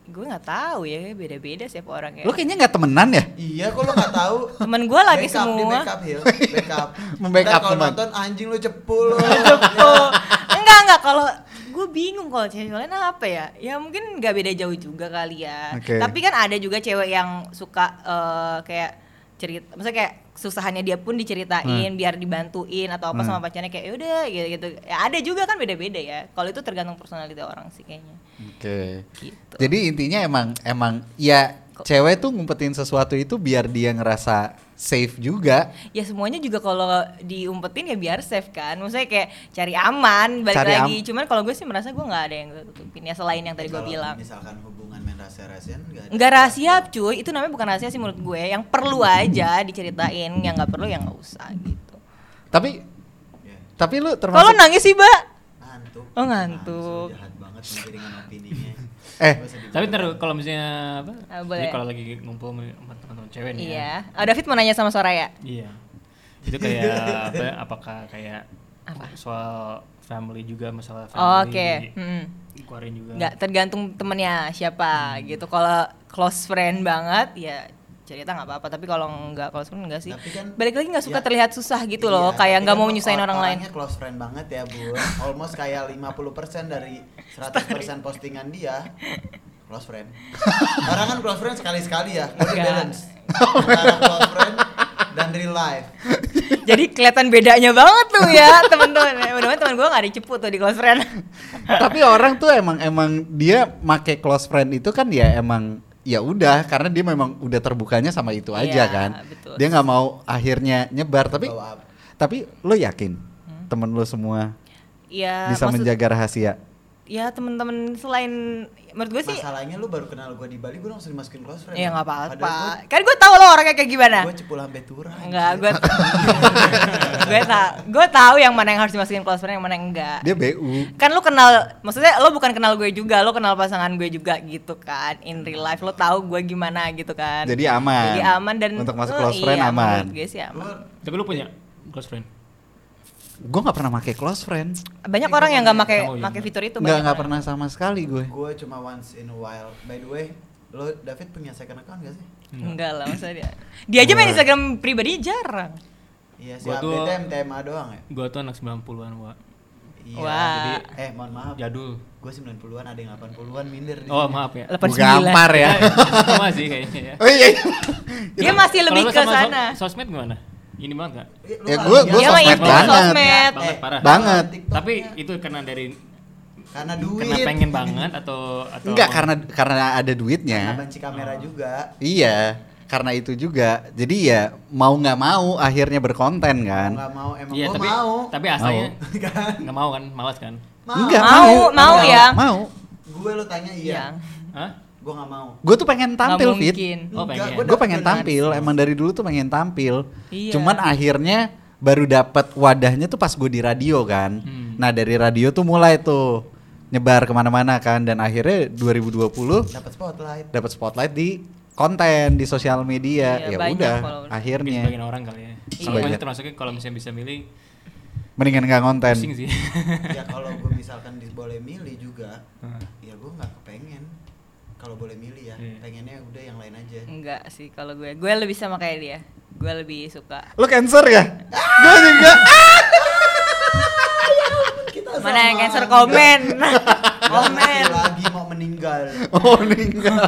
S4: gue nggak tahu ya beda-beda siapa orangnya.
S2: lo kayaknya nggak temenan ya?
S1: iya kok lu gak tahu
S4: Temen gue lagi
S1: Backup, di
S4: semua.
S1: backup Hil backup
S2: Membackup
S1: Ntar kalau
S2: teman.
S1: nonton anjing lu cepu lu Iya.
S4: Oh, enggak enggak kalau gue bingung kalau cewek lain apa ya? Ya mungkin nggak beda jauh juga kali ya.
S2: Oke.
S4: Tapi kan ada juga cewek yang suka eh, kayak cerita, maksudnya kayak kesusahannya dia pun diceritain
S2: Hmm.
S4: biar dibantuin atau apa sama pacarnya kayak yaudah gitu gitu ya ada juga kan beda beda ya kalau itu tergantung personality orang sih kayaknya
S2: Oke.
S4: gitu
S2: Jadi intinya emang emang ya cewek tuh ngumpetin sesuatu itu biar dia ngerasa safe juga.
S4: ya semuanya juga kalau diumpetin ya biar safe kan maksudnya kayak cari aman balik
S2: Cari am-
S4: lagi cuman kalau gue sih merasa gue nggak ada yang gue tutupin ya selain yang tadi gue
S1: Kalau
S4: bilang
S1: Misalkan hubungan main rahasia-rahasian enggak
S4: nggak rahasia cuy itu namanya bukan rahasia sih menurut gue yang perlu aja diceritain yang nggak perlu ya nggak usah gitu
S2: Tapi
S1: Ya.
S2: tapi lu
S4: kalau
S2: termasuk
S4: nangis sih mbak
S1: Ngantuk.
S4: Oh, ngantuk.
S1: Ah, so jahat banget menggiringan opininya.
S2: Eh.
S1: Gak usah dibahas.
S3: Tapi ntar kalau misalnya apa?
S4: Ah,
S3: jadi
S4: boleh.
S3: kalau lagi ngumpul sama teman-teman cewek nih. ya.
S4: iya oh, David mau nanya sama Soraya
S3: Iya. Itu kayak apa? ya, Apakah kayak
S4: Apa? Oh,
S3: soal family juga masalah
S4: oke
S3: family
S4: Mm-mm.
S3: dikeluarin juga.
S4: nggak tergantung temennya siapa
S1: Hmm.
S4: gitu kalau close friend banget ya cerita nggak apa-apa tapi kalau nggak close friend nggak sih
S1: Tapi kan-
S4: balik lagi nggak
S1: ya.
S4: suka terlihat susah gitu
S1: Iya,
S4: loh
S1: tapi
S4: kayak nggak
S1: kan
S4: mau
S1: or-
S4: nyusahin orang lain
S1: orangnya close friend banget ya, Bu. Almost kayak 50% dari 100% postingan dia close friend. Orang kan close friend sekali-sekali ya, harus
S4: Enggak.
S1: balance. Antara close friend dan real life.
S4: jadi kelihatan bedanya banget tuh ya temen-temen Ya, mudah-mudahan temen gue nggak diceput tuh di close friend
S2: tapi orang tuh emang emang dia make close friend itu kan ya emang ya udah karena dia memang udah terbukanya sama itu aja
S4: Iya,
S2: kan.
S4: betul.
S2: Dia nggak mau akhirnya nyebar tapi
S1: Bawa up.
S2: tapi lu yakin temen lu semua
S4: ya
S2: bisa
S4: Hmm? maksud-
S2: menjaga rahasia?
S4: ya temen-temen selain menurut gue sih
S1: Masalahnya lu baru kenal gua di Bali, gua langsung dimasukin close friend.
S4: ya nggak
S1: Padahal
S4: apa-apa Nah. kan gue tau lo orangnya kayak gimana
S1: Gue cepul sampai turah.
S4: Enggak,
S2: gitu.
S4: gue gue tau gue tahu yang mana yang harus dimasukin close friend yang mana yang enggak
S2: Dia BU.
S4: kan lu kenal maksudnya lo bukan kenal gue juga lo kenal pasangan gue juga gitu kan in real life lo tahu gue gimana gitu kan
S2: Jadi aman.
S4: jadi aman dan
S2: untuk masuk
S4: eh,
S2: close friend
S4: iya,
S2: aman.
S4: menurut gue sih aman.
S1: Gua-
S3: Tapi lu punya close friend?
S2: Gue nggak pernah make close friend.
S4: banyak orang yang nggak pakai
S3: Tahu, iya.
S4: pakai fitur itu
S2: Nggak
S4: banyak kan?
S2: nggak
S4: orang.
S2: pernah sama sekali gue.
S1: Gue cuma once in a while. By the way, lo David punya second account gak sih?
S4: enggak lah maksudnya dia dia aja main Instagram pribadi jarang
S1: Iya sih,
S3: Gua tuh-
S1: update MTMA doang ya?
S3: Gua tuh anak 90-an, Wa.
S1: Iya,
S4: Wah.
S1: jadi eh mohon maaf.
S3: Jadul.
S1: Gue 90-an ada yang 80-an minder di sini.
S3: Oh, maaf ya.
S4: 89.
S2: Gampar ya.
S3: Sama sih kayaknya ya.
S2: Oh iya. iya.
S4: dia masih
S3: Kalau
S4: lebih
S3: lu
S4: ke
S3: sama sos-
S4: sana
S3: sosmed gimana? Ini banget gak?
S1: Eh, lu
S2: Ya,
S1: kali
S2: gua-
S1: ya.
S2: gua
S4: dia mah
S2: sosmed
S4: itu
S2: banget.
S4: sosmed
S3: Banget,
S1: Eh,
S3: parah.
S2: Banget.
S1: TikToknya.
S3: Tapi itu karena dari
S1: karena duit.
S3: karena pengen banget atau atau
S2: Enggak
S3: mau-
S2: karena karena ada
S1: Karena
S2: duitnya.
S1: banci kamera
S3: Oh.
S1: juga.
S2: Iya, karena itu juga. Jadi ya mau nggak mau akhirnya berkonten
S1: Kan.
S2: kan.
S1: Gak mau emang
S3: Iya,
S1: gua
S3: tapi
S1: mau.
S3: tapi asalnya
S1: kan?
S3: nggak mau kan, malas kan?
S1: Mau.
S2: Enggak
S4: Mau, mau ya.
S2: Mau.
S1: Gue lo tanya iya.
S4: Yang-
S3: Hah?
S1: Gue gak mau.
S2: Gue tuh pengen tampil
S4: nggak
S2: fit.
S4: mungkin.
S1: Enggak,
S3: Oh, pengen.
S1: gua
S2: Gue
S1: dapet
S2: pengen
S1: beneran.
S2: tampil. Emang dari dulu tuh pengen tampil.
S4: Iya.
S2: Cuman akhirnya baru dapat wadahnya tuh pas gue di radio kan.
S3: Hmm.
S2: Nah dari radio tuh mulai tuh nyebar kemana-mana kan. Dan akhirnya 2020
S1: Dapat spotlight.
S2: dapat spotlight di konten di sosial media. ya
S4: Iya, banyak
S2: udah
S4: followers.
S3: Mungkin
S2: akhirnya Iya.
S3: sebagian orang kali ya. Kalau
S2: Sebagian.
S3: gue termasuknya kalau misalnya bisa milih
S2: mendingan nggak konten.
S3: pusing sih.
S1: ya kalau gue misalkan di- boleh milih juga,
S3: Heeh.
S1: ya gue nggak kepengen. Kalau boleh milih ya,
S3: Iya.
S1: pengennya udah yang lain aja.
S4: enggak sih kalau gue gue lebih sama kayak dia gue lebih suka
S2: Lu cancer ya?
S3: Ah!
S2: Gue juga.
S1: Kita
S4: mana yang
S1: sama
S4: cancer
S1: aja.
S4: komen
S1: Gak
S4: komen
S1: mati lagi mau meninggal.
S2: Oh meninggal.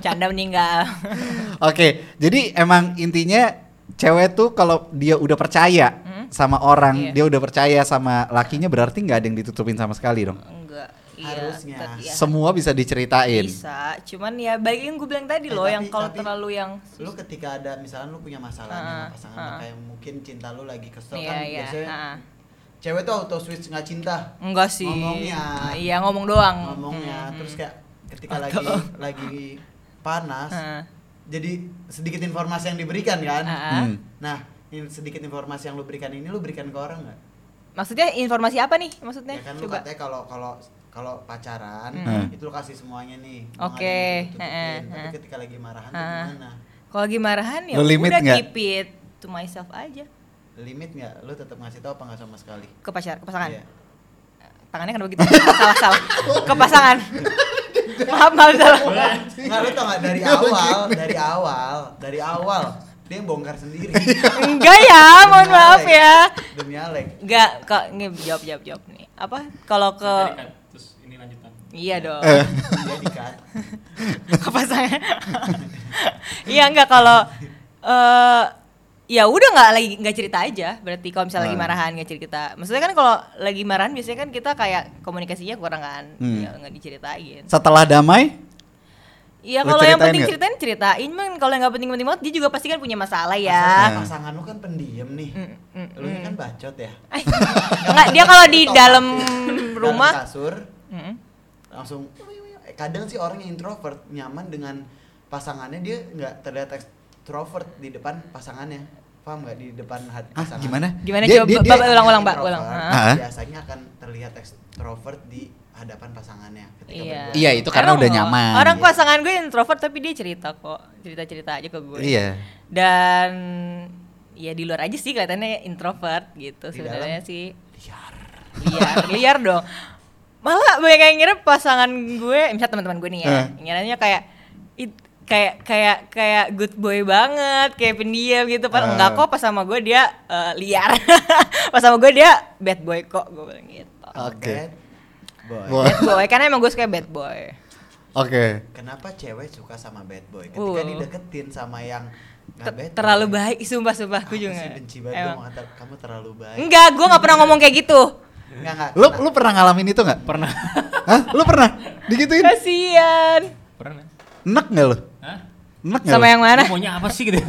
S4: canda meninggal
S2: Oke, jadi emang intinya cewek tuh kalau dia udah percaya
S4: Hmm?
S2: sama orang,
S4: Iya.
S2: dia udah percaya sama lakinya berarti nggak ada yang ditutupin sama sekali dong.
S4: enggak iya,
S1: Harusnya.
S4: tetap- iya.
S2: Semua bisa diceritain.
S4: bisa cuman ya balik yang gue bilang tadi
S1: Eh,
S4: loh
S1: tapi-
S4: yang kalau
S1: tapi
S4: terlalu yang Iya,
S1: Lu ketika ada misalkan lu punya masalah nih sama
S4: Ah,
S1: pasangan
S4: ah.
S1: lu, kayak mungkin cinta lu lagi kesel
S4: iya
S1: kan
S4: iya
S1: biasanya
S4: ah.
S1: cewek tuh auto switch nggak cinta
S4: enggak sih
S1: Ngomongnya.
S4: iya ngomong doang
S1: ngomongnya
S4: Mm,
S1: ya. terus
S4: mm.
S1: kayak ketika
S4: Auto.
S1: lagi lagi panas
S4: Ah,
S1: jadi sedikit informasi yang diberikan kan
S4: ah, ah.
S2: Hmm.
S1: nah ini sedikit informasi yang lu berikan ini lu berikan ke orang nggak
S4: maksudnya informasi apa nih maksudnya
S1: ya kan lu
S4: coba
S1: katanya kalau kalau kalau pacaran
S2: Hmm.
S1: itu lu kasih semuanya nih Lu
S4: Oke,
S1: nggak ada yang ditutup-tutupin.
S4: eh, eh,
S1: tapi
S4: eh.
S1: ketika lagi marahan tuh
S4: Ah.
S1: gimana
S4: kalau lagi marahan ya
S2: Lu limit
S4: udah
S2: nggak?
S4: keep it to myself aja
S1: limit nggak lu tetap ngasih tahu apa nggak sama sekali
S4: ke pacar ke pasangan
S1: Iya.
S4: tangannya kenapa gitu salah salah ke pasangan maaf maaf salah
S1: Nggak, lu tau nggak dari awal, dari awal, dari awal dia yang bongkar sendiri.
S4: enggak ya mohon
S1: Demi
S4: maaf
S1: Alex.
S4: ya
S1: Demi Alek.
S4: Enggak, kok nge jawab jawab jawab nih. Apa kalau ke
S3: Jadi kan, terus ini lanjutan.
S4: Iya dong.
S2: Eh.
S1: Dia dikat.
S4: ke pasangan. Iya enggak kalau eh ya udah nggak lagi nggak cerita aja berarti kalau
S2: Eh.
S4: misalnya lagi marahan nggak cerita maksudnya kan kalau lagi marahan biasanya kan kita kayak komunikasinya kurang kan
S2: Hmm.
S4: ya nggak diceritain
S2: Setelah damai?
S4: Iya
S2: Lo
S4: kalau yang
S2: ceritain
S4: penting
S2: nggak?
S4: ceritain ceritain man kalau yang nggak penting penting banget dia juga pasti kan punya masalah
S2: Masalah.
S4: ya
S1: pasangan lu kan pendiam nih
S4: Mm, mm,
S1: lu ini kan bacot ya
S4: nggak dia kalau di
S1: Tau
S4: dalam
S1: pasti. Dalam
S4: rumah
S1: kasur
S4: Mm.
S1: langsung eh, kadang sih orang yang introvert nyaman dengan pasangannya dia nggak terlihat extrovert di depan pasangannya paham nggak di depan hati
S2: Hah,
S1: pasangan
S2: ah, gimana?
S4: Gimana?
S2: Dia-
S4: Coba,
S2: dia-
S4: Bapak,
S2: dia-
S4: ulang-ulang, Mbak,
S1: Introvert
S4: ulang.
S2: Hah?
S1: biasanya akan terlihat extrovert di hadapan pasangannya ketika
S4: Iya.
S1: berdua.
S2: Iya, itu karena
S4: Emang
S2: udah
S4: loh.
S2: nyaman.
S4: Orang
S1: Iya.
S4: pasangan gue introvert tapi dia cerita kok. Cerita-cerita aja ke gue.
S2: Iya.
S4: Dan ya di luar aja sih kelihatannya introvert gitu
S1: Di
S4: sebenarnya
S1: dalam?
S4: sih.
S1: liar
S4: Liar, liar dong. Malah banyak yang ngira pasangan gue, misalnya teman-teman gue nih ya,
S2: Eh.
S4: ngiranya kayak it- kayak kayak kayak good boy banget, kayak pendiam gitu.
S2: Eh.
S4: Padahal enggak kok pas sama gue dia eh, liar. pas sama gue dia bad boy kok, gue bilang gitu.
S2: Oke.
S1: Bad boy.
S2: Boy.
S4: Bad boy karena emang gue suka bad boy.
S2: Oke.
S1: kenapa cewek suka sama bad boy ketika
S4: Wow.
S1: dideketin sama yang nggak
S4: Ter-
S1: Nah, bad boy?
S4: terlalu baik sumpah sumpah
S1: Apa
S4: gue juga
S1: sih benci banget
S4: Emang.
S1: dong, antar- kamu terlalu baik
S4: enggak gue nggak pernah ngomong kayak gitu
S1: Enggak, enggak.
S2: Lu lu pernah ngalamin itu nggak?
S3: Pernah.
S2: Hah? Lu pernah digituin?
S4: kasian
S3: Pernah.
S2: Enak nggak lu?
S3: Hah?
S2: Enak nggak?
S4: sama
S2: lu?
S4: yang mana
S3: Lu maunya apa sih gitu?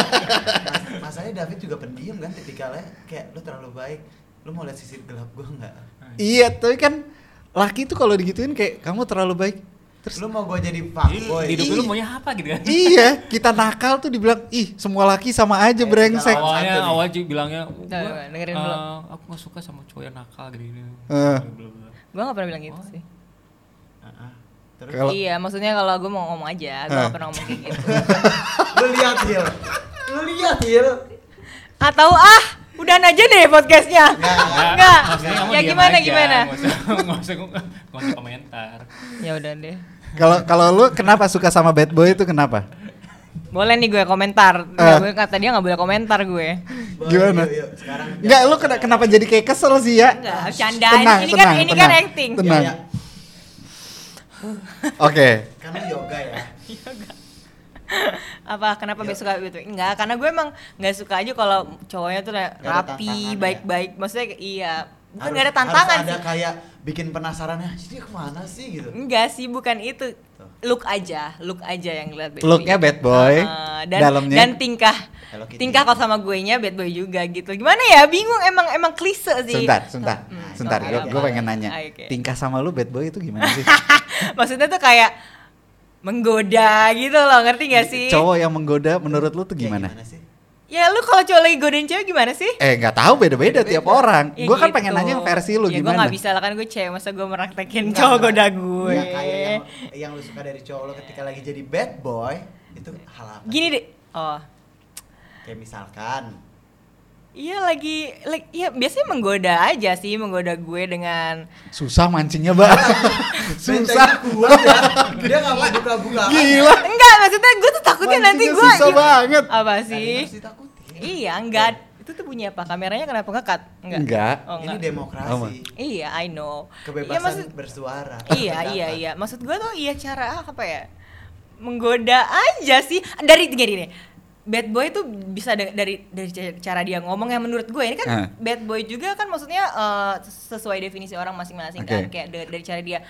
S1: Mas- masalahnya David juga pendiam kan tipikalnya kayak lu terlalu baik lu mau lihat sisi gelap gua nggak
S2: Iya, tapi kan laki tuh kalau digituin kayak kamu terlalu baik. Terus
S1: lu mau gua jadi
S3: Jadi
S1: fuckboy
S3: hidup
S2: Iya.
S3: lu maunya apa gitu kan?
S2: iya, kita nakal tuh dibilang, "Ih, semua laki sama aja
S1: Eh,
S2: brengsek."
S1: kalau-
S3: awalnya
S1: Satu nih.
S3: awal sih bilangnya "Gua,
S4: Tuh, dengerin dulu.
S3: eh, aku gak suka sama cowok yang nakal gitu gini
S2: Eh.
S4: gue nggak pernah bilang gitu
S1: Oh.
S4: sih
S1: Ah, ah. terus
S2: Kalau- Eh.
S4: iya maksudnya kalau gue mau ngomong aja gue
S2: Hah.
S4: nggak pernah ngomong kayak gitu
S1: lu lihat Hil lu lihat Hil
S4: atau ah udahan aja deh podcastnya
S1: Enggak, enggak.
S4: Ah, enggak
S3: maksudnya kamu
S4: ya
S3: diam
S4: gimana
S3: aja,
S4: gimana
S3: nggak usah- nggak usah nggak usah komentar
S4: ya udah deh
S2: Kalau kalau lu kenapa suka sama bad boy itu kenapa?
S4: boleh nih gue komentar
S2: Eh.
S4: Nah, gue kata dia nggak boleh komentar gue
S1: Boy,
S2: Gimana?
S1: yuk, yuk, sekarang
S2: Enggak, lu kena- kenapa jadi kayak kesel sih ya?
S4: enggak candaan ini kan ini kan acting
S2: Tenang.
S1: Ya, ya.
S2: Oke.
S1: kan lu yoga ya
S4: apa kenapa
S1: Iya.
S4: gak suka gitu enggak karena gue emang nggak suka aja kalau cowoknya tuh kayak
S1: Nggak ada
S4: rapi
S1: tantangan ya.
S4: baik-baik maksudnya kayak- iya bukan
S1: Harus-
S4: nggak ada tantangan
S1: harus ada
S4: sih
S1: kayak bikin penasaran ya dia kemana sih gitu
S4: enggak sih bukan itu look aja look aja yang lihat bad boy.
S2: Looknya bad boy,
S4: Heeh, dan
S2: dalamnya-
S4: dan tingkah
S1: Hello Kitty.
S4: tingkah kalau sama gue nya bad boy juga gitu gimana ya bingung emang emang klise sih
S2: Sebentar, sebentar.
S4: Hmm,
S2: Sebentar,
S4: oke,
S2: gue
S1: oke.
S2: gue pengen nanya.
S4: Oke.
S2: Tingkah sama lu bad boy itu gimana sih?
S4: maksudnya tuh kayak menggoda gitu loh ngerti gak sih
S2: Cowok yang menggoda menurut lu tuh
S1: Kayak
S2: gimana?
S1: sih
S4: ya lu kalau cowok lagi godain cewek gimana sih
S2: Eh, nggak tahu beda-beda tiap orang.
S4: Ya
S2: Gue kan
S4: gitu.
S2: pengen nanya versi lu
S4: ya, Gue
S2: gimana?
S4: gak bisa lah kan gue cewek masa gue meraktekin
S1: Enggak,
S4: cowok
S1: enggak.
S4: goda gue.
S1: Enggak, kayak yang, yang lu suka dari cowok lu ketika lagi jadi bad boy itu hal apa
S4: Gini deh. Oh.
S1: kayak misalkan
S4: Iya lagi, lagi ya biasanya menggoda aja sih menggoda gue dengan
S2: Susah mancingnya, Mbak.
S1: Susah
S2: Susah.
S1: gua ya. Dia enggak mau buka-buka.
S2: Gila.
S4: enggak maksudnya gue tuh takutnya nanti
S2: Mancingnya
S4: gue
S2: susah banget.
S4: apa
S1: Harus
S4: sih
S1: ditakutin.
S4: iya enggak itu tuh bunyi apa kameranya kenapa ngekat enggak
S2: Enggak.
S4: oh,
S1: Ini
S4: enggak
S1: demokrasi.
S4: iya I know
S1: Kebebasan
S4: iya, maksud-
S1: bersuara.
S4: iya
S2: Kan.
S4: iya iya maksud gue tuh iya cara apa ya menggoda aja sih dari gini deh bad boy tuh bisa da- dari dari ca- cara dia ngomong yang menurut gue ini kan
S2: Ah.
S4: bad boy juga kan maksudnya eh, sesuai definisi orang masing-masing kan
S2: Oke.
S4: kayak da- dari cara dia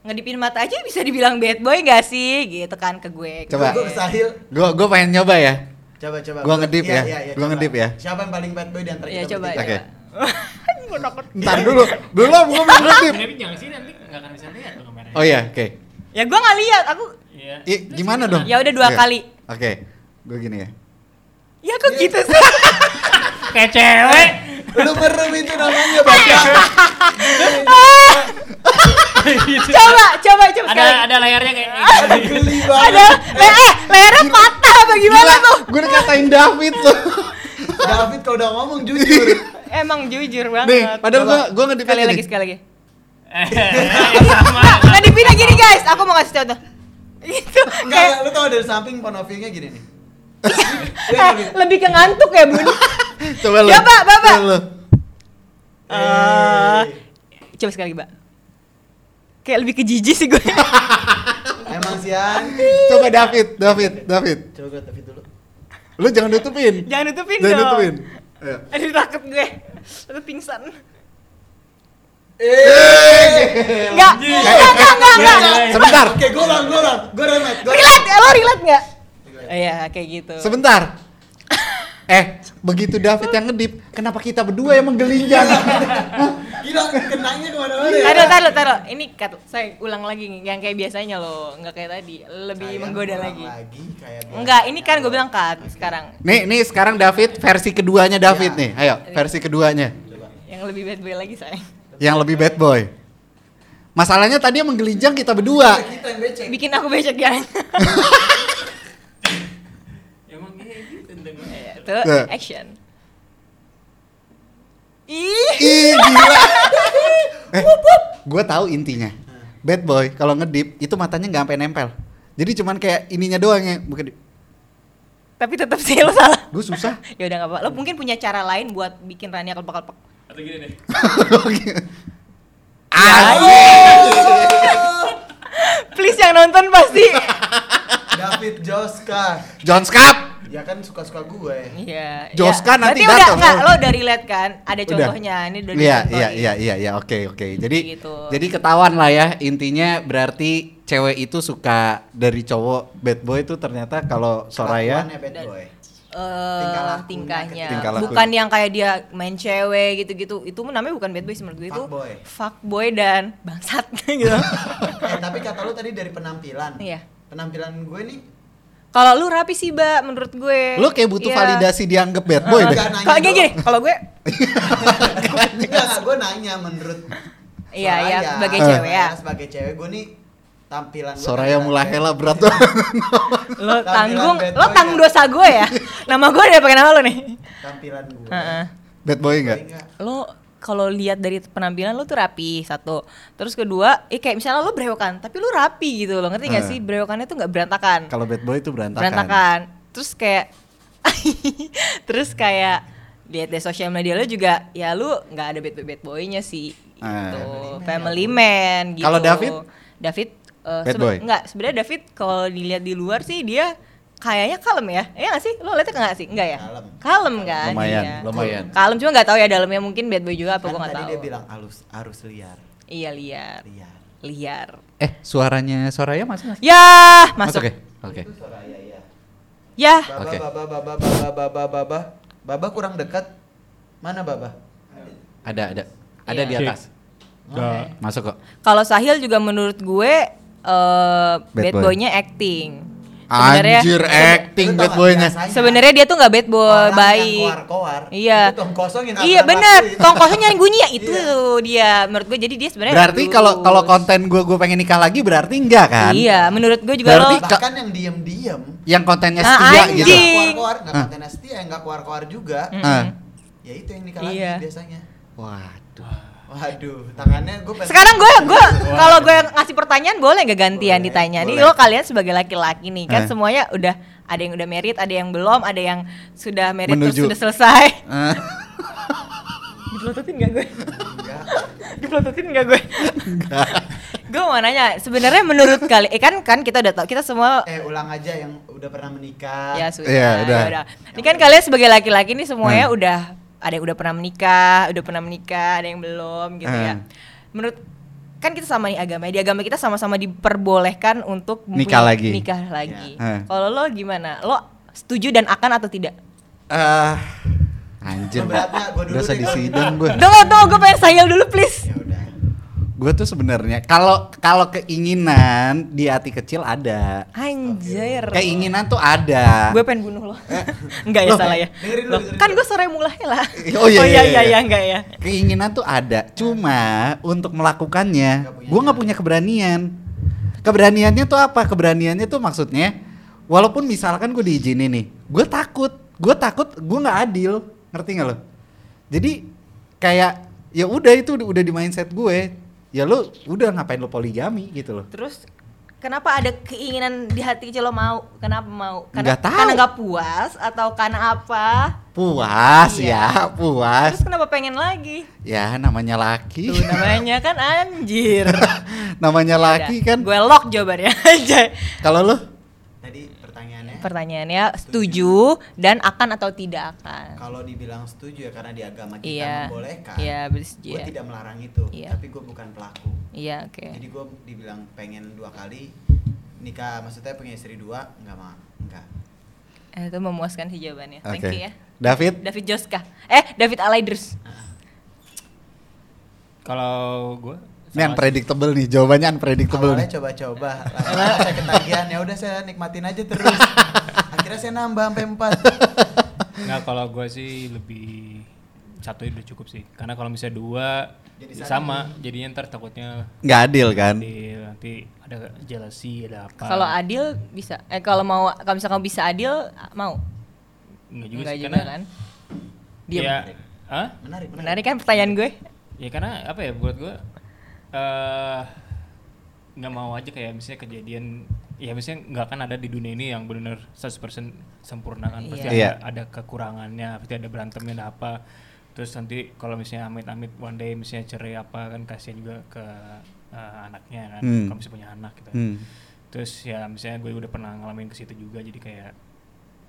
S4: ngedipin mata aja bisa dibilang bad boy gak sih gitu kan ke gue
S2: Coba.
S1: Gue sahil.
S2: Gue gue pengen nyoba ya.
S1: Coba coba.
S2: Gua ngedip
S1: Iya,
S2: ya.
S1: iya, iya,
S2: Gua
S1: coba.
S2: ngedip ya.
S1: Siapa yang paling bad boy di antara
S4: ya
S1: kita?
S4: coba
S1: bertiga?
S2: Oke.
S4: coba. Gue takut.
S2: Ntar dulu. Belum gue belum ngedip.
S3: tapi jangan sih nanti nggak akan bisa lihat tuh kameranya
S2: Oh iya, oke.
S4: ya gue nggak lihat aku
S3: Iya.
S2: Ih, gimana dong?
S4: Ya udah dua
S2: Oke.
S4: kali.
S2: Oke. Gue gini ya.
S4: ya kok
S3: Iya.
S4: gitu sih
S3: kayak cewek
S1: Lu merem itu namanya
S2: Ya,
S1: Bapak.
S3: Gitu.
S4: coba coba coba
S3: ada
S4: sekali.
S3: ada layarnya kayak
S4: Ya.
S1: Geli
S4: ada
S1: banget.
S4: le- eh lehernya patah apa gimana tuh
S2: Gue dikatain David tuh.
S1: Eh, David kalau udah ngomong jujur.
S4: Emang jujur banget.
S2: Nih, padahal gue gue ngedip
S4: sekali
S2: aja
S4: lagi
S2: nih.
S4: sekali lagi.
S3: Eh, sama
S4: Nggak, nggak dipindah gini guys. Aku mau kasih contoh. Gitu.
S1: Enggak,
S4: Kayak
S1: enggak, lu tau dari samping ponofilnya gini nih. Iya,
S4: eh,
S1: David.
S4: lebih ke ngantuk ya, Bun.
S2: Coba lu.
S4: Coba, Bapak.
S2: Coba lu.
S4: Eh,
S1: Eh,
S4: Coba sekali lagi, Mbak. Kayak lebih ke jijik sih gue.
S1: Emang Sian.
S2: Coba David, David, David.
S1: Coba gue David dulu.
S2: Lu jangan nutupin.
S4: Jangan nutupin
S2: Jangan
S4: dong.
S2: nutupin. Iya. Ayo.
S4: Aduh takut gue. Aku pingsan. Enggak, enggak, enggak, enggak, enggak.
S2: Sebentar.
S1: Eh! Oke, gue ulang, gue ulang, gue remet, gue
S4: Relate, ya, lo relate enggak? Iya, kayak gitu.
S2: Sebentar. Eh, begitu David yang ngedip, kenapa kita berdua yang menggelinjang?
S1: Gila, kenanya kemana-mana ya.
S4: Taruh, taruh, taruh. Ini kat, saya ulang lagi nih, yang kayak biasanya loh, nggak kayak tadi, lebih
S1: Kayak
S4: menggoda
S1: ulang
S4: lagi.
S1: kayak
S4: Enggak,
S1: biasanya
S4: ini kan gue
S1: lo.
S4: bilang cut
S1: Oke.
S4: sekarang,
S2: nih, nih sekarang David versi keduanya David
S1: Iya.
S2: nih. Ayo, versi keduanya.
S1: Coba.
S4: yang lebih bad boy lagi sayang.
S2: Yang lebih bad boy. Masalahnya tadi yang menggelinjang kita berdua.
S1: Kita yang becek.
S4: Bikin aku becek ya.
S3: Emang kayak gitu dengan
S1: Iya.
S4: Tuh,
S2: Tuh.
S4: action. Ih,
S2: Ih, gila. Eh, gue tahu intinya. Bad boy kalau ngedip itu matanya nggak sampai nempel. Jadi cuman kayak ininya doang ya, bukan
S4: tapi tetap sih lo salah.
S2: gue susah.
S4: Ya udah nggak apa. Lo mungkin punya cara lain buat bikin Rania kelepek-kelepek.
S3: atau gini deh.
S2: Ah,
S4: Please yang nonton pasti.
S1: Iya. David Joska.
S2: John Scott.
S1: Ya kan suka-suka gue.
S4: Iya.
S2: Joskan
S4: iya.
S2: nanti datang.
S4: Berarti udah enggak lo udah relate kan? Ada
S2: Udah.
S4: contohnya. Ini udah
S2: Iya,
S4: dicontohin.
S2: iya, iya, iya, iya, oke, oke. Jadi
S4: Gitu.
S2: jadi ketahuan lah ya intinya berarti cewek itu suka dari cowok bad boy itu ternyata kalau Soraya
S1: Kelakuannya bad boy.
S4: Eh,
S1: Tingkah lakunya,
S4: tingkahnya.
S2: tingkah laku.
S4: Bukan yang kayak dia main cewek gitu-gitu. Itu namanya bukan bad boy sih menurut gue itu.
S1: Fuckboy.
S4: fuckboy dan bangsat gitu.
S1: eh, tapi kata lu tadi dari penampilan.
S4: Iya.
S1: Penampilan gue nih
S4: Kalau lu rapi sih, Ba, menurut gue.
S2: lu kayak butuh
S4: Iya.
S2: validasi dianggap bad boy deh.
S1: Enggak,
S4: Kalau gini, gini,
S1: doang.
S4: kalau gue
S1: Enggak, enggak, gue nanya menurut
S4: Iya, iya,
S1: Soraya.
S4: sebagai
S2: Eh.
S4: cewek ya.
S1: Sebagai cewek gue nih tampilan gue
S2: Soraya
S1: tampilan
S2: mulai
S1: gue.
S2: hela berat tuh.
S4: lo
S1: Tampilan
S4: tanggung,
S1: bad
S4: lo
S1: boy
S4: tanggung
S1: ya.
S4: dosa gue ya. Nama gue udah pakai nama lo nih.
S1: Tampilan gue.
S4: Heeh.
S2: bad boy enggak?
S1: Enggak.
S4: Lo kalau lihat dari penampilan lo tuh rapi satu. Terus kedua, eh kayak misalnya lo brewokan, tapi lo rapi gitu lo ngerti gak
S2: Eh.
S4: sih? Brewokannya tuh nggak berantakan.
S2: Kalau bad boy itu berantakan.
S4: Berantakan. Terus kayak, terus kayak lihat dari sosial media lo juga, ya lo nggak ada bad boy bad boynya sih.
S2: Eh.
S4: Gitu.
S1: Family ya. man,
S4: Family man. gitu.
S2: Kalau David?
S4: David. eh,
S2: Bad
S4: sebe-
S2: boy.
S4: Nggak, sebenarnya David kalau dilihat di luar sih dia kayaknya kalem ya. Iya nggak sih? Lo liatnya nggak sih? Enggak ya?
S1: Kalem.
S4: Kalem kan?
S2: Lumayan,
S4: iya.
S2: lumayan.
S4: Kalem cuma nggak tahu ya dalamnya mungkin bad boy juga apa
S1: Kan
S4: gue nggak
S1: tadi
S4: tahu.
S1: dia bilang arus arus liar.
S4: Iya liar,
S1: Liar.
S4: liar.
S2: Eh, suaranya Soraya masuk nggak?
S4: Ya masuk.
S2: ya? Oke.
S1: Itu Soraya ya.
S4: Ya
S1: Baba
S2: Oke.
S1: baba baba baba baba baba. Baba kurang dekat. Mana baba?
S2: Ada, ada. Ada
S4: Iya.
S2: di atas.
S3: Enggak.
S2: Masuk kok.
S4: Kalau Sahil juga menurut gue eh bad
S2: boy.
S4: boy-nya acting. Sebenarnya
S2: Anjir acting bad boy-nya.
S4: sebenarnya dia tuh nggak bad boy, baik.
S1: Koar-koar.
S4: Iya.
S1: Itu tong kosong yang
S4: Iya
S1: akan
S4: bener,
S1: lakuin.
S4: tong kosong nyari bunyi ya itu dia. Menurut gue jadi dia sebenarnya
S2: Berarti
S4: halus.
S2: kalau kalau konten gua gua pengen nikah lagi berarti enggak kan?
S4: Iya, menurut gue juga
S2: Berarti
S4: lo
S1: Bahkan yang diem-diem
S2: Yang kontennya
S4: Ah,
S2: setia
S1: yang nggak
S2: gitu.
S4: anjing.
S1: koar-koar, nggak
S2: Ah.
S1: konten setia, yang nggak koar-koar juga
S4: Mm.
S2: Ah.
S1: Ya itu yang nikah lagi
S4: Iya.
S1: biasanya
S2: Waduh.
S1: Waduh, tangannya gue pengen
S4: Sekarang gue gue kalau gue ngasih pertanyaan boleh nggak gantian
S1: Boleh,
S4: ditanya? Nih
S1: boleh.
S4: lo kalian sebagai laki-laki nih
S2: Eh.
S4: kan semuanya udah ada yang udah merit, ada yang belum, ada yang sudah merit
S2: Menuju.
S4: terus sudah selesai.
S2: Eh,
S4: Dipelototin nggak gue?
S1: Enggak.
S4: Dipelototin nggak gue? gue mau nanya, sebenarnya menurut kali, eh kan kan kita udah tau, kita semua
S1: Eh ulang aja yang udah pernah menikah
S4: ya sudah,
S2: Iya,
S4: ya
S2: udah. Hmm.
S4: udah. Ini kan kalian sebagai laki-laki nih semuanya udah ada yang udah pernah menikah, udah pernah menikah, ada yang belum gitu ya.
S2: Hmm.
S4: Menurut kan kita sama nih agama, di agama kita sama-sama diperbolehkan untuk
S2: Nikah
S4: mempunyai-
S2: lagi.
S4: Nikah lagi.
S2: Ya. Hmm.
S4: Kalau lo gimana? Lo setuju dan akan atau tidak?
S2: Ah, anjir.
S1: Beratnya gua dulu
S2: Dosa
S1: deh.
S2: di sidang gua.
S4: Tunggu, tunggu, gue pengen sayang dulu please.
S1: Ya udah
S2: Gua tuh sebenarnya kalau kalau keinginan di hati kecil ada.
S4: Anjir.
S2: Keinginan tuh ada.
S4: gue pengen bunuh lo
S2: Eh.
S4: enggak ya
S2: Loh,
S4: salah ya
S1: dengerin dulu,
S4: Loh,
S1: dengerin
S4: kan
S1: dulu.
S4: gue sore mulai lah
S2: Oh iya, iya, iya.
S4: enggak ya
S2: Keinginan tuh ada, cuma untuk melakukannya
S1: Nggak punya
S2: gua nggak punya keberanian. Keberaniannya tuh apa? Keberaniannya tuh maksudnya walaupun misalkan gue diizinin nih, gue takut, gue takut gue nggak adil, ngerti nggak lo? Jadi kayak ya udah itu udah udah di mindset gue, ya lo udah ngapain lo poligami gitu loh.
S4: terus kenapa ada keinginan di hati kecil lo mau kenapa mau karena
S2: Nggak tahu.
S4: karena nggak puas atau karena apa
S2: Puas ya,
S4: Iya.
S2: puas.
S4: terus kenapa pengen lagi
S2: Ya namanya
S4: tuh
S2: laki,
S4: namanya kan anjir Iya,
S2: namanya laki kan.
S4: gue lock jawabannya aja
S2: Kalau lo
S1: Tadi pertanyaannya
S4: Pertanyaannya setuju dan akan atau tidak akan.
S1: Kalau dibilang setuju ya karena di agama kita
S4: Iya.
S1: membolehkan.
S4: Iya, betul setuju
S1: Gue
S4: ya.
S1: tidak melarang itu,
S4: Iya.
S1: tapi gue bukan pelaku.
S4: Iya, oke.
S1: Jadi gue dibilang pengen dua kali nikah, maksudnya punya istri dua, enggak mah, enggak.
S4: Eh, Itu memuaskan sih jawabannya. Thank you ya.
S2: David?
S4: David Joska. Eh, David Alaidrus.
S3: Kalau gue
S2: Ini unpredictable nih, jawabannya unpredictable
S1: Awalnya
S2: nih.
S1: coba-coba, lama-lama saya ketagihan, ya udah saya nikmatin aja terus. Akhirnya saya nambah sampai empat.
S3: Nggak, kalau gue sih lebih satu udah cukup sih. Karena kalau misalnya dua
S1: Jadi satu.
S3: ya sama, jadinya ntar takutnya
S2: Nggak adil kan?
S3: di- nanti ada jealousy, ada apa.
S4: Kalau adil bisa. Eh kalau mau kalau misalkan kamu bisa adil mau.
S3: Nggak Iya juga
S4: Enggak
S3: sih,
S4: juga
S3: karena
S4: kan? Diam.
S3: ya, Hah?
S1: Menarik,
S4: Menarik kan pertanyaan gue?
S3: Ya karena apa ya buat gue nggak mau aja kayak misalnya kejadian ya misalnya nggak akan ada di dunia ini yang benar 100% sempurna kan pasti
S2: Iya.
S3: ada, ada kekurangannya pasti ada berantemnya ada apa terus nanti kalau misalnya amit-amit one day misalnya cerai apa kan kasihan juga ke eh, anaknya kan
S2: Hmm.
S3: kalau misalnya punya anak gitu
S2: Hmm.
S3: terus ya misalnya gue udah pernah ngalamin ke situ juga jadi kayak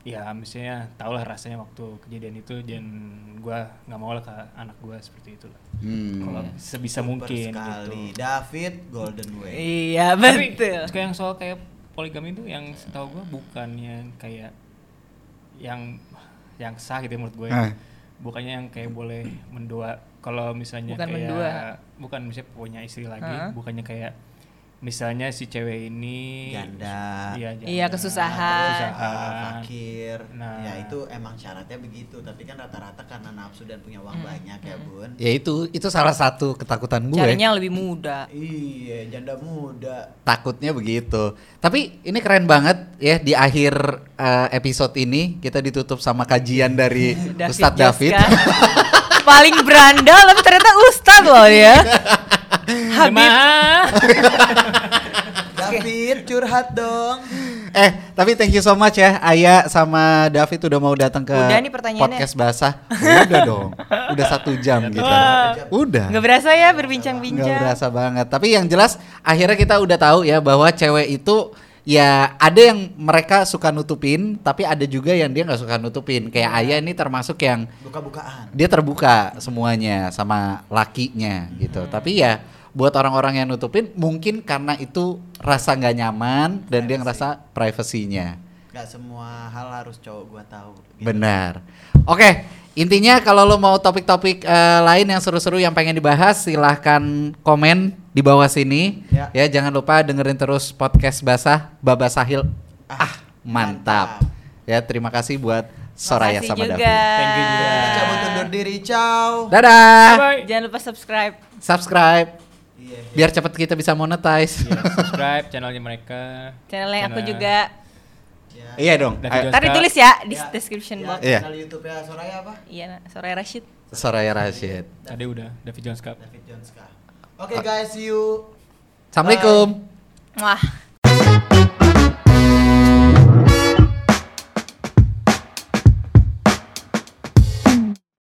S3: ya misalnya tau lah rasanya waktu kejadian itu dan gue nggak mau lah ke anak gue seperti itu lah
S2: Hmm.
S3: kalau
S4: Iya.
S3: sebisa
S1: Super
S3: mungkin
S1: sekali.
S3: gitu.
S1: David Golden Way.
S4: Iya,
S3: Tapi
S4: betul.
S3: kayak yang soal kayak poligami itu yang setahu gue bukan yang kayak yang yang sah gitu menurut gue.
S2: Ah.
S3: Bukannya yang kayak boleh mendua kalau misalnya
S4: Bukan
S3: kayak
S4: mendua.
S3: bukan misalnya punya istri lagi,
S4: Ah.
S3: bukannya kayak misalnya si cewek ini
S1: Janda.
S4: Iya,
S3: Iya, janda,
S4: kesusahan.
S1: Ah,
S3: kesusahan.
S1: fakir.
S3: Nah.
S1: Ya itu emang syaratnya begitu, tapi kan rata-rata karena nafsu dan punya
S4: Hmm.
S1: uang banyak ya, Bun.
S2: Ya
S4: Iya.
S2: itu, itu salah satu ketakutan gue.
S4: Carinya yang lebih muda.
S1: Iya, janda muda.
S2: Takutnya begitu. Tapi ini keren banget ya di akhir eh, episode ini kita ditutup sama kajian dari Ustadz David.
S4: Joska. Paling berandal tapi ternyata Ustadz loh ya. Habib.
S3: Jemaah.
S1: David curhat dong.
S2: eh, tapi thank you so much ya Aya sama David udah mau datang ke
S4: Udah nih pertanyaannya.
S2: podcast basah. Udah dong. Udah satu jam gitu. Udah.
S4: Nggak berasa ya
S2: Nggak
S4: berbincang-bincang.
S2: berasa banget. Tapi yang jelas akhirnya kita udah tahu ya bahwa cewek itu ya ada yang mereka suka nutupin, tapi ada juga yang dia nggak suka nutupin. Kayak Aya ini termasuk yang
S1: Buka-bukaan.
S2: dia terbuka semuanya sama lakinya gitu. Tapi ya buat orang-orang yang nutupin mungkin karena itu rasa nggak nyaman dan
S1: Privacy.
S2: dia ngerasa privasinya.
S1: Gak semua hal harus cowok gua tahu. Gitu.
S2: Benar. Oke, intinya kalau lo mau topik-topik eh, lain yang seru-seru yang pengen dibahas, silahkan komen di bawah sini.
S1: Ya.
S2: Ya, jangan lupa dengerin terus podcast basah Baba Sahil. Ah, mantap. Ya, terima kasih buat Soraya
S4: Makasih
S2: sama
S4: juga.
S2: David.
S3: Thank you juga.
S1: Cabut undur diri, ciao.
S2: Dadah.
S3: Bye.
S4: Jangan lupa subscribe.
S2: Subscribe
S1: Iya. iya.
S2: biar cepat kita bisa monetize.
S3: Iya, subscribe channelnya mereka.
S4: Channelnya aku
S3: Channel-
S4: juga.
S1: Iya.
S2: Iya dong.
S3: David
S2: Ayo,
S3: Jones.
S4: Ntar ditulis ya di
S1: Ya,
S4: description
S1: ya,
S4: box.
S2: Iya.
S1: Channel YouTube-nya Soraya apa?
S4: Iya, Nak. Soraya Rashid.
S2: Soraya Rashid.
S3: Tadi udah David Jones Cup.
S1: David Jones Oke guys, see you.
S2: Assalamualaikum.
S4: Wah.